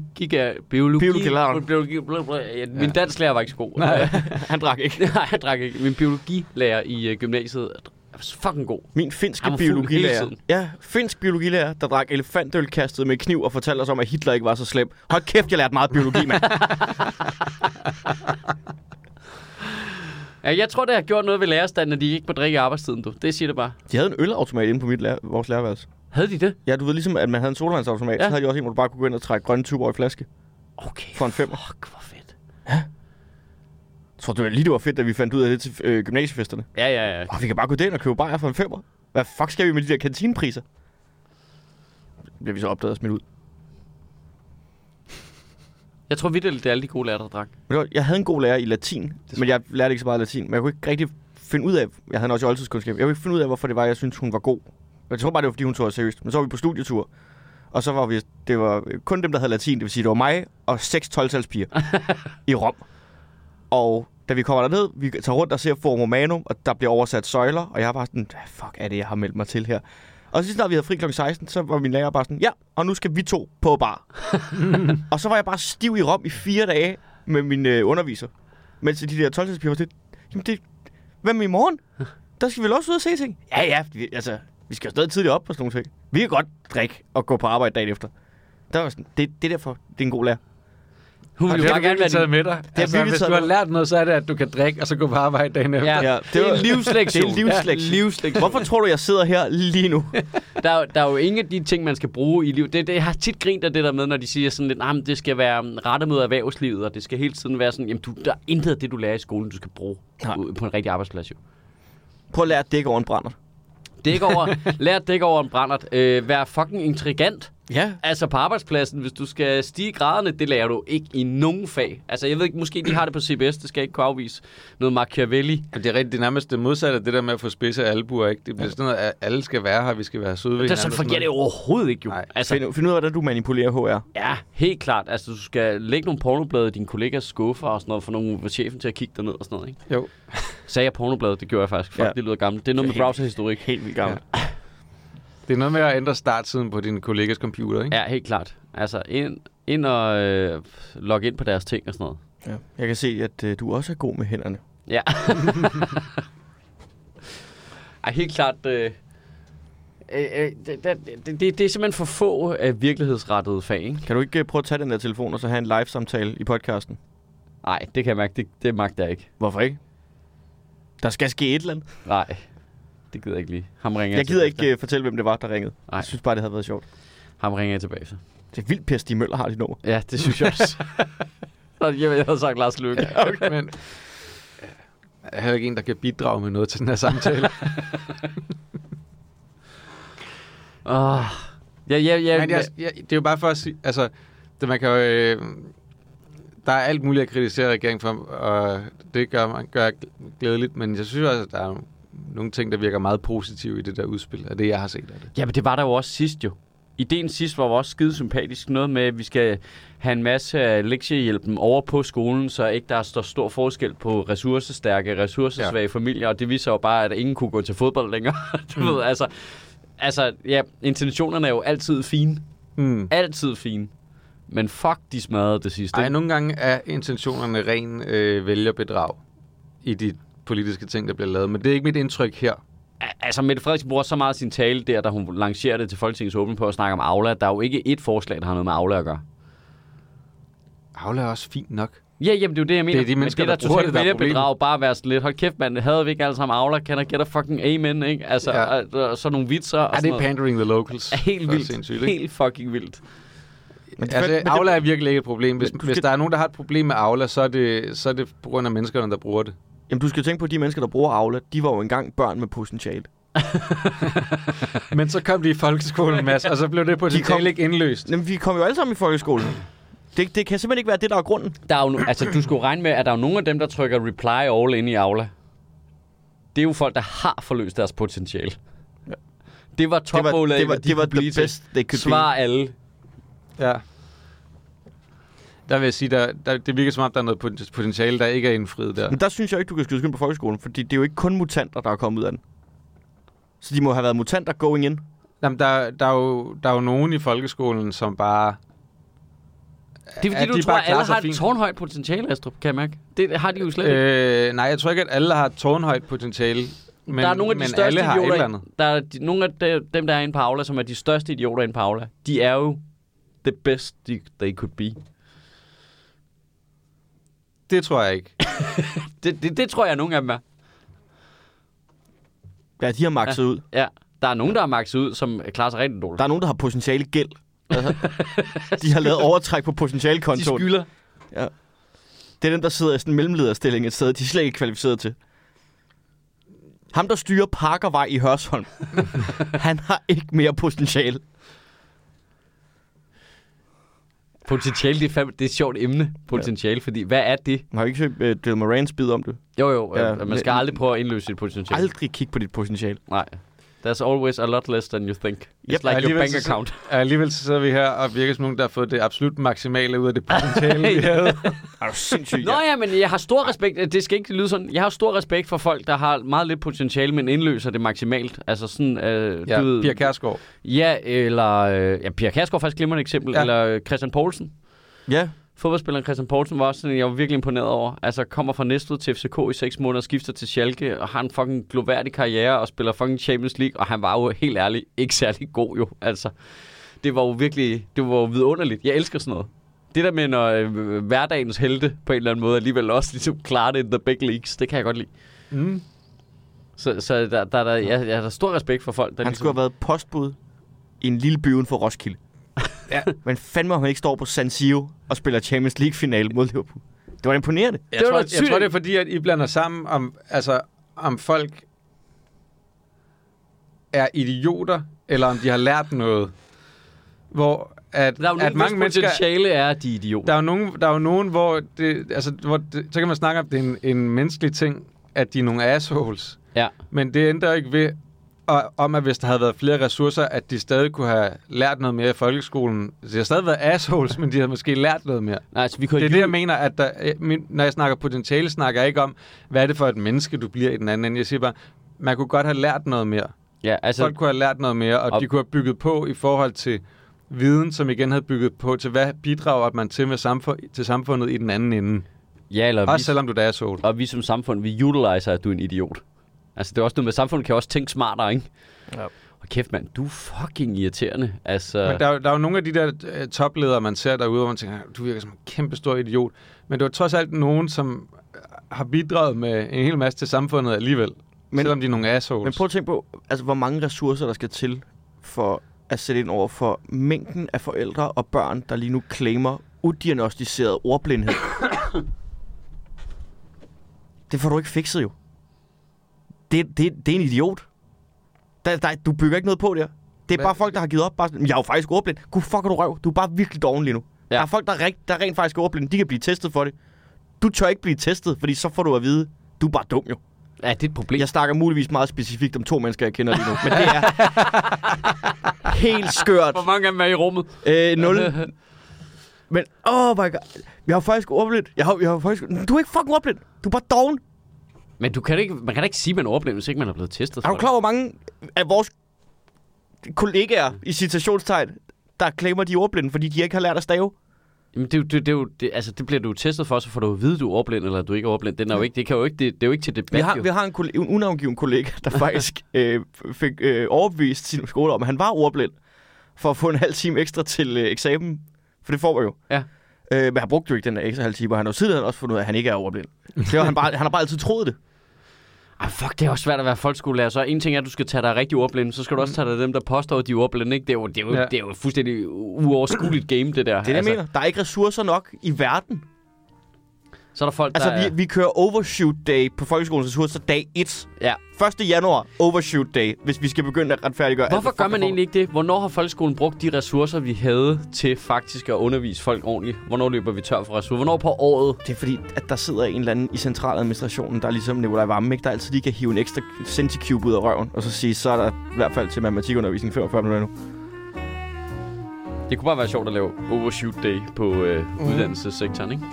biologi...
Biologilæreren.
biologi bla, bla, ja, min dansklærer var ikke så god.
han drak ikke.
Nej, jeg drak ikke. Min biologilærer i øh, gymnasiet er så fucking god.
Min finske
Han var fuld hele
biologilærer.
tiden.
Ja, finsk biologilærer, der drak elefantøl kastet med kniv og fortalte os om, at Hitler ikke var så slem. Hold kæft, jeg lærte meget biologi, mand.
Ja, jeg tror, det har gjort noget ved lærerstanden, at de ikke må drikke i arbejdstiden, du. Det siger det bare.
De havde en ølautomat inde på mit lærer, vores lærerværelse.
Havde de det?
Ja, du ved ligesom, at man havde en solvandsautomat, ja.
Ja.
så havde de også en, hvor du bare kunne gå ind og trække grønne tuber i flaske
Okay.
for en femmer.
Fuck, hvor fedt.
Jeg tror, det var lige det var fedt, at vi fandt ud af det til øh, gymnasiefesterne.
Ja, ja, ja.
Og vi kan bare gå derind og købe bajer for en femmer. Hvad fuck skal vi med de der kantinepriser? Bliver vi så opdaget og smidt ud.
Jeg tror vidt, det er alle de gode lærere, der drak.
Men det var, jeg havde en god lærer i latin, men jeg lærte ikke så meget latin. Men jeg kunne ikke rigtig finde ud af, jeg havde også i oldtidskundskab, jeg kunne ikke finde ud af, hvorfor det var, jeg syntes, hun var god. Jeg tror bare, det var, fordi hun tog det seriøst. Men så var vi på studietur, og så var vi, det var kun dem, der havde latin, det vil sige, det var mig og seks 12-talspiger i Rom. Og da vi kommer derned, vi tager rundt og ser Forum Romanum, og der bliver oversat søjler, og jeg er bare sådan, hvad fuck er det, jeg har meldt mig til her? Og så snart vi havde fri kl. 16, så var min lærer bare sådan, ja, og nu skal vi to på bar. og så var jeg bare stiv i Rom i fire dage med min øh, underviser. Mens de der 12 var sådan, lidt, jamen det, hvad med i morgen? Der skal vi vel også ud og se ting? Ja, ja, vi, altså, vi skal jo stadig tidligt op på sådan nogle ting. Vi kan godt drikke og gå på arbejde dagen efter. Der var sådan, det, det er derfor, det er en god lærer.
Hun
Har
Altså,
ville
det
jo
har
bare
du
gerne
virkelig
være
taget
din...
med dig.
har
Altså,
virkelig
hvis
taget
du har
med.
lært noget, så er det, at du kan drikke, og så gå på arbejde dagen efter.
Ja,
Ja,
ja,
det
det er
var-
en livslektion.
Det er en livslektion.
Ja, livslektion.
Hvorfor tror du, jeg sidder her lige nu?
der, er jo- der er jo ingen af de ting, man skal bruge i livet. Det, det, jeg har tit grint af det der med, når de siger sådan lidt, nah, men det skal være mm, rettet mod erhvervslivet, og det skal hele tiden være sådan, jamen du, der er intet af det, du lærer i skolen, du skal bruge
Nej.
ude på en rigtig arbejdsplads jo.
Prøv at lære at dække over en brænder.
Dæk over, lær at dække over en brændert. Øh, vær fucking intrigant.
Ja.
Altså på arbejdspladsen, hvis du skal stige graderne, det lærer du ikke i nogen fag. Altså jeg ved ikke, måske de har det på CBS, det skal jeg ikke kunne afvise. Noget Machiavelli.
Jamen, det er rigtigt, det er nærmest det modsatte, af det der med at få spidse albuer, ikke? Det bliver sådan noget, at alle skal være her, vi skal være søde ved
Det er
hinanden
sådan,
og
fungerer det
noget.
overhovedet ikke jo.
Nej.
altså,
Find, find ud af, hvordan du manipulerer HR.
Ja, helt klart. Altså, du skal lægge nogle pornoblade i din kollegas skuffer og sådan noget, for nogle for chefen til at kigge derned og sådan noget, ikke?
Jo.
Sagde jeg pornoblade? Det gjorde jeg faktisk. Fuck,
Ja.
ja. det lyder gammelt. Det er noget med
Helt-
browserhistorik.
Helt vildt gammel. Ja.
Det er noget med at ændre startsiden på din kollegas computer, ikke?
Ja, helt klart. Altså, ind, ind og øh, logge ind på deres ting og sådan noget.
Ja. Jeg kan se, at øh, du også er god med hænderne.
Ja. Ej, helt klart... Øh, øh, øh, det, det, det, det er simpelthen for få øh, virkelighedsrettede fag, ikke?
Kan du ikke øh, prøve at tage den der telefon, og så have en live-samtale i podcasten?
Nej, det kan jeg mærke. Det, det magter jeg ikke.
Hvorfor ikke? Der skal ske et eller andet.
Nej, det gider jeg ikke lige. Ham ringer
Jeg gider
tilbage.
ikke øh, fortælle, hvem det var, der ringede.
Nej.
Jeg synes bare, det havde været sjovt.
Ham ringer jeg tilbage, så.
Det er vildt, Per Stig Møller har dit nummer.
Ja, det synes jeg også. Nå, Jamen, jeg havde sagt Lars Løkke.
Okay. Men jeg er heller ikke en, der kan bidrage med noget til den her samtale.
Oh. Ja, ja, ja.
Men jeg, jeg, det er altså- jo bare for at sige, altså, det, man kan jo, øh, der er alt muligt at kritisere regeringen for, og det gør man gør jeg glædeligt, men jeg synes også, at der er nogle ting, der virker meget positive i det der udspil, og det jeg har set af det.
ja, men det var der jo også sidst jo. Ideen sidst var jo også skide sympatisk. Noget med, at vi skal have en masse af lektiehjælpen over på skolen, så ikke der står stor forskel på ressourcestærke, ressourcesvage ja. familier. Og det viser jo bare, at ingen kunne gå til fodbold længere.
Mm.
du ved, altså, altså, ja, intentionerne er jo altid fine.
Mm.
Altid fine. Men fuck, de smadrede det sidste.
Ej,
ikke?
nogle gange er intentionerne ren øh, vælgerbedrag i de politiske ting, der bliver lavet, men det er ikke mit indtryk her.
Al- Altså, Mette Frederiksen bruger så meget af sin tale der, da hun lancerer det til Folketingets åbning på at snakke om Aula. Der er jo ikke ét forslag, der har noget med Aula at gøre.
Aula er også fint nok.
Ja, jamen det er jo det, jeg mener.
Det er de mennesker,
Men det,
der bruger det, der er
totalt vælgerbedrag, bare at være sådan lidt, hold kæft mand, havde vi ikke alle sammen Aula, kan der get a fucking amen, ikke? Altså,
Ja.
ja. og, og, så nogle vitser og
Er
sådan
det
noget.
pandering the locals?
Er helt
For
vildt.
Sindssygt, ikke?
helt fucking vildt.
Men det,
Altså,
men det-
Aula er virkelig ikke et problem. Hvis,
Men du
hvis
skal-
der er nogen, der har et problem med Aula, så er det, så er det på grund af menneskerne, der bruger det.
Jamen, du skal jo tænke på, at de mennesker, der bruger Aula, de var jo engang børn med potentiale.
Men så kom de i folkeskolen, Mads, og så blev det på
kom-
det ikke indløst.
Jamen, vi kom jo alle sammen i folkeskolen. Det, det kan simpelthen ikke være det, der er grunden.
Der er jo, no- altså, du skulle regne med, at der er jo nogle af dem, der trykker reply all ind i Aula. Det er jo folk, der har forløst deres potentiale. Det var
Det var,
topmålet af,
det var,
hvad de
det var
kunne blive
the
til.
best they could
Svar alle.
Ja. Der vil jeg sige, der, der, det virker som om, der er noget pot- potentiale, der ikke er indfriet der.
be. Men der synes jeg ikke, du kan skyde skyld på folkeskolen, fordi det er jo ikke kun mutanter, der er kommet ud af den. Så de må have været mutanter going in.
Jamen, der, der, er jo, der er jo nogen i folkeskolen, som bare...
Det er fordi,
At
du
de
tror,
bare
at alle
klarer sig
har et
fint.
tårnhøjt potentiale, Astrup, kan jeg mærke. Det har de jo slet ikke.
Øh, nej, jeg tror ikke, at alle har et tårnhøjt potentiale. Men,
der er nogle af de
men
største
alle har et
idioter.
eller andet.
Der er de, nogle af de, dem, der er inde på Aula, som er de største idioter inde på Aula. De er jo the best they, they could be.
Det tror jeg ikke.
Det, det, det tror jeg, nogle af dem er.
Ja, de har makset ja. ud.
Ja. Der er nogen, der er maxet ud, som klarer sig rigtig dårligt.
Der er nogen, der har potentiale gæld. Altså, de har lavet overtræk på
de
potentialekontoen.
skylder.
Det er dem, der sidder i sådan en mellemlederstilling et sted, de er slet ikke kvalificeret til. Ham, der styrer Parkervej i Hørsholm, han har ikke mere potentiale.
Potentiale, det er, fandme, det er et sjovt emne, potentiale, ja. fordi hvad er det?
Man har jo ikke søgt uh, Del Morans bid om det.
Jo, jo,
Ja,
ja, man skal
øh, men-
aldrig prøve at indløse sit potentiale.
Aldrig kig på dit potentiale.
Nej. There's always a lot less than you think. It's yep,
Yep.
like your
Alligevel
bank
så-
account.
Alligevel så sidder vi her og virker som nogen, der har fået det absolut maksimale ud af det potentiale, vi havde.
Er du sindssyg?
Nå ja, men jeg har stor respekt, øh, det skal ikke lyde sådan, jeg har stor respekt for folk, der har meget lidt potentiale, men indløser det maksimalt. Altså sådan, øh,
Ja,
du ved,
Pia Kærsgaard.
ja eller, øh, ja, Pia Kærsgaard er faktisk et glimrende eksempel, ja.
Ja.
eller øh, Christian Poulsen.
Ja,
Fodboldspilleren Christian Poulsen var også sådan, en, jeg var virkelig imponeret over. Altså kommer fra Næstved til FCK i 6 måneder, skifter til Schalke, og har en fucking gloværdig karriere og spiller fucking Champions League, og han var jo helt ærligt ikke særlig god jo, altså. Det var jo virkelig, det var jo vidunderligt. Jeg elsker sådan noget. Det der med, når øh, hverdagens helte på en eller anden måde alligevel også ligesom klarer det in the big leagues, det kan jeg godt lide.
Mm.
Så, så der, der, der, jeg, jeg har da stor respekt for folk, der
han
ligesom...
skulle have været postbud i en lille by uden for Roskilde.
Ja.
Men fandme, om han ikke står på San Siro og spiller Champions League-finale mod Liverpool. Det var imponerende.
Jeg,
Det var
tror,
da
jeg
sygt.
tror, det er fordi, at I blander sammen om, altså, om folk er idioter, eller om de har lært noget. Hvor at,
Der er jo
at
nogen,
mange
hvis
mennesker...
potentiale er, at de er idioter.
Der er jo nogen, der er jo nogen hvor, det, altså, hvor det, så kan man snakke om, at det er en, en menneskelig ting, at de er nogle assholes.
Ja.
Men det ændrer ikke ved, og, om at hvis der havde været flere ressourcer, at de stadig kunne have lært noget mere i folkeskolen. Så de har stadig været assholes, men de har måske lært noget mere.
Nej, altså, vi kunne
Det er
have
det, jeg mener, at der, øh, min- når jeg snakker potentiale, snakker jeg ikke om, hvad er det for et menneske, du bliver i den anden ende. Jeg siger bare, man kunne godt have lært noget mere.
Ja, altså,
Så... Folk kunne have lært noget mere, og,
Og-
og de kunne have bygget på i forhold til viden, som igen havde bygget på til, hvad bidrager man til, med samfund, til samfundet i den anden ende.
ja, eller
Også
vi-
selvom du da er sol.
Og vi som samfund, vi utiliser, at du er en idiot. Altså, det er også noget med, at samfundet kan også tænke smartere, ikke?
Ja.
Og kæft, mand, du er fucking irriterende. Altså,
Men der, er jo- der er jo nogle af de der øh, topledere, man ser derude, hvor man tænker, du virker som en kæmpe stor idiot. Men det var trods alt nogen, som øh, har bidraget med en hel masse til samfundet alligevel.
Men-
Men, selvom de er nogle
Men
assholes.
prøv at tænke på, altså, hvor mange ressourcer, der skal til for at sætte ind over for mængden af forældre og børn, der lige nu claimer udiagnostiseret ordblindhed. det får du ikke fikset jo. Det, det, det er en idiot. Der, der, du bygger ikke noget på der. Det er
Hvad-
bare folk, der har givet op. Bare sådan, jeg er jo faktisk ordblind. Gud, fuck, er du røv. Du er bare virkelig doven lige nu.
Ja.
Ja. Der er folk, der, er rigt, der er rent faktisk er ordblinde. De kan blive testet for det. Du tør ikke blive testet, fordi så får du at vide, du er bare dum jo.
ja, det er et problem.
Jeg snakker muligvis meget specifikt om to mennesker, jeg kender lige nu, men det er helt skørt.
Hvor mange af dem er i rummet?
Øh, nul. Men, oh my god. Jeg har faktisk ordblindt. Jeg har, jeg har faktisk... Du er ikke fucking ordblind. Du er bare doven.
Men du kan ikke, man kan da ikke sige, at man er overblivet, hvis ikke man er blevet testet.
Er
for
du
det.
klar over, hvor mange af vores kollegaer i citationstegn, der klamer de er ordblinde, fordi de ikke har lært at stave?
Jamen, det, er jo- det, det, er jo- det, altså, det bliver du jo testet for, så får du jo at vide, du er overblind, eller du ikke er overblind. Den er jo ikke, det, kan jo ikke, det, det er jo ikke til debat,
Vi har,
jo.
vi har en, kollega, en unavngiven kollega, der faktisk øh, fik øh, overbevist sin skole om, at han var ordblind, for at få en halv time ekstra til øh, eksamen. For det får man jo.
Ja.
Øh, men han brugte jo ikke den der ekstra halv time, og han har jo siden også fundet ud af, at han ikke er ordblind. Det var han, bare, han har bare altid troet det.
Ej, fuck, det er også svært at være folkeskolelærer. Så en ting er, at du skal tage dig rigtig ordblinde, så skal
Mm.
du også tage dig af dem, der påstår, at de er ordblinde, ikke? Det er jo, det er jo, ja.
Ja.
det er jo et fuldstændig uoverskueligt game, det der. Altså,
Det er det, jeg mener. Der er ikke ressourcer nok i verden
Så er der folk,
Altså,
der er...
vi, vi kører Overshoot Day på folkeskolens ressourcer dag 1.
Ja.
1. januar, Overshoot Day, hvis vi skal begynde at retfærdiggøre...
Hvorfor
alt,
gør
fuck
man
er
egentlig ikke det? Hvornår har folkeskolen brugt de ressourcer, vi havde til faktisk at undervise folk ordentligt? Hvornår løber vi tør for ressourcer? Hvornår på året?
for- Det er fordi, at der sidder en eller anden i centraladministrationen, der er ligesom Nikolaj Vamme, ikke? der altid lige kan hive en ekstra centicube ud af røven, og så sige, så er der i hvert fald til matematikundervisning 45 minutter nu.
Det kunne bare være sjovt at lave overshoot day på øh,
Mhm.
mm. uddannelsessektoren, ikke?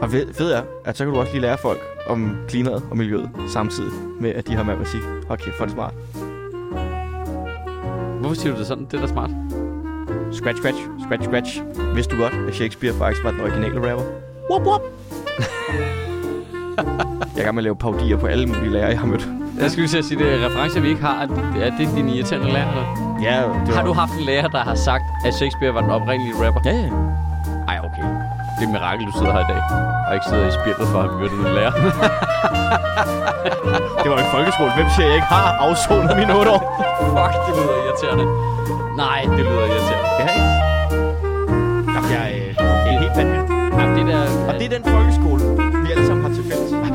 Og ved, ved jeg, at så kan du også lige lære folk om klimaet og miljøet, samtidig med, at de har matematik. Hold kæft, for det smart.
Hvorfor siger du det sådan? Det er da smart.
Scratch, scratch, scratch, scratch. Vidste du godt, at Shakespeare faktisk var den originale rapper? Wop, wop. jeg er i gang med at lave paudier på alle mulige lærere, jeg har mødt.
Ja. Jeg skulle lige til at sige, det er referencer, vi ikke har. Er det- Er det din irriterende lærer? Eller?
Ja, det
Har du haft en lærer, der har sagt, at Shakespeare var den oprindelige rapper?
Ja, ja.
Nej, okay. Det er et mirakel, du sidder her i dag. Og ikke sidder i spjældet for, at han mødte en lærer.
Det var jo i folkeskolen. Hvem siger, jeg ikke har afsonet mine otte år?
Fuck, det lyder irriterende. Nej, det lyder irriterende.
Ja, ikke? Jamen, jeg, øh, det er helt vanvittigt.
Jamen, det der...
Og det er den folkeskole, vi alle sammen har til fælles.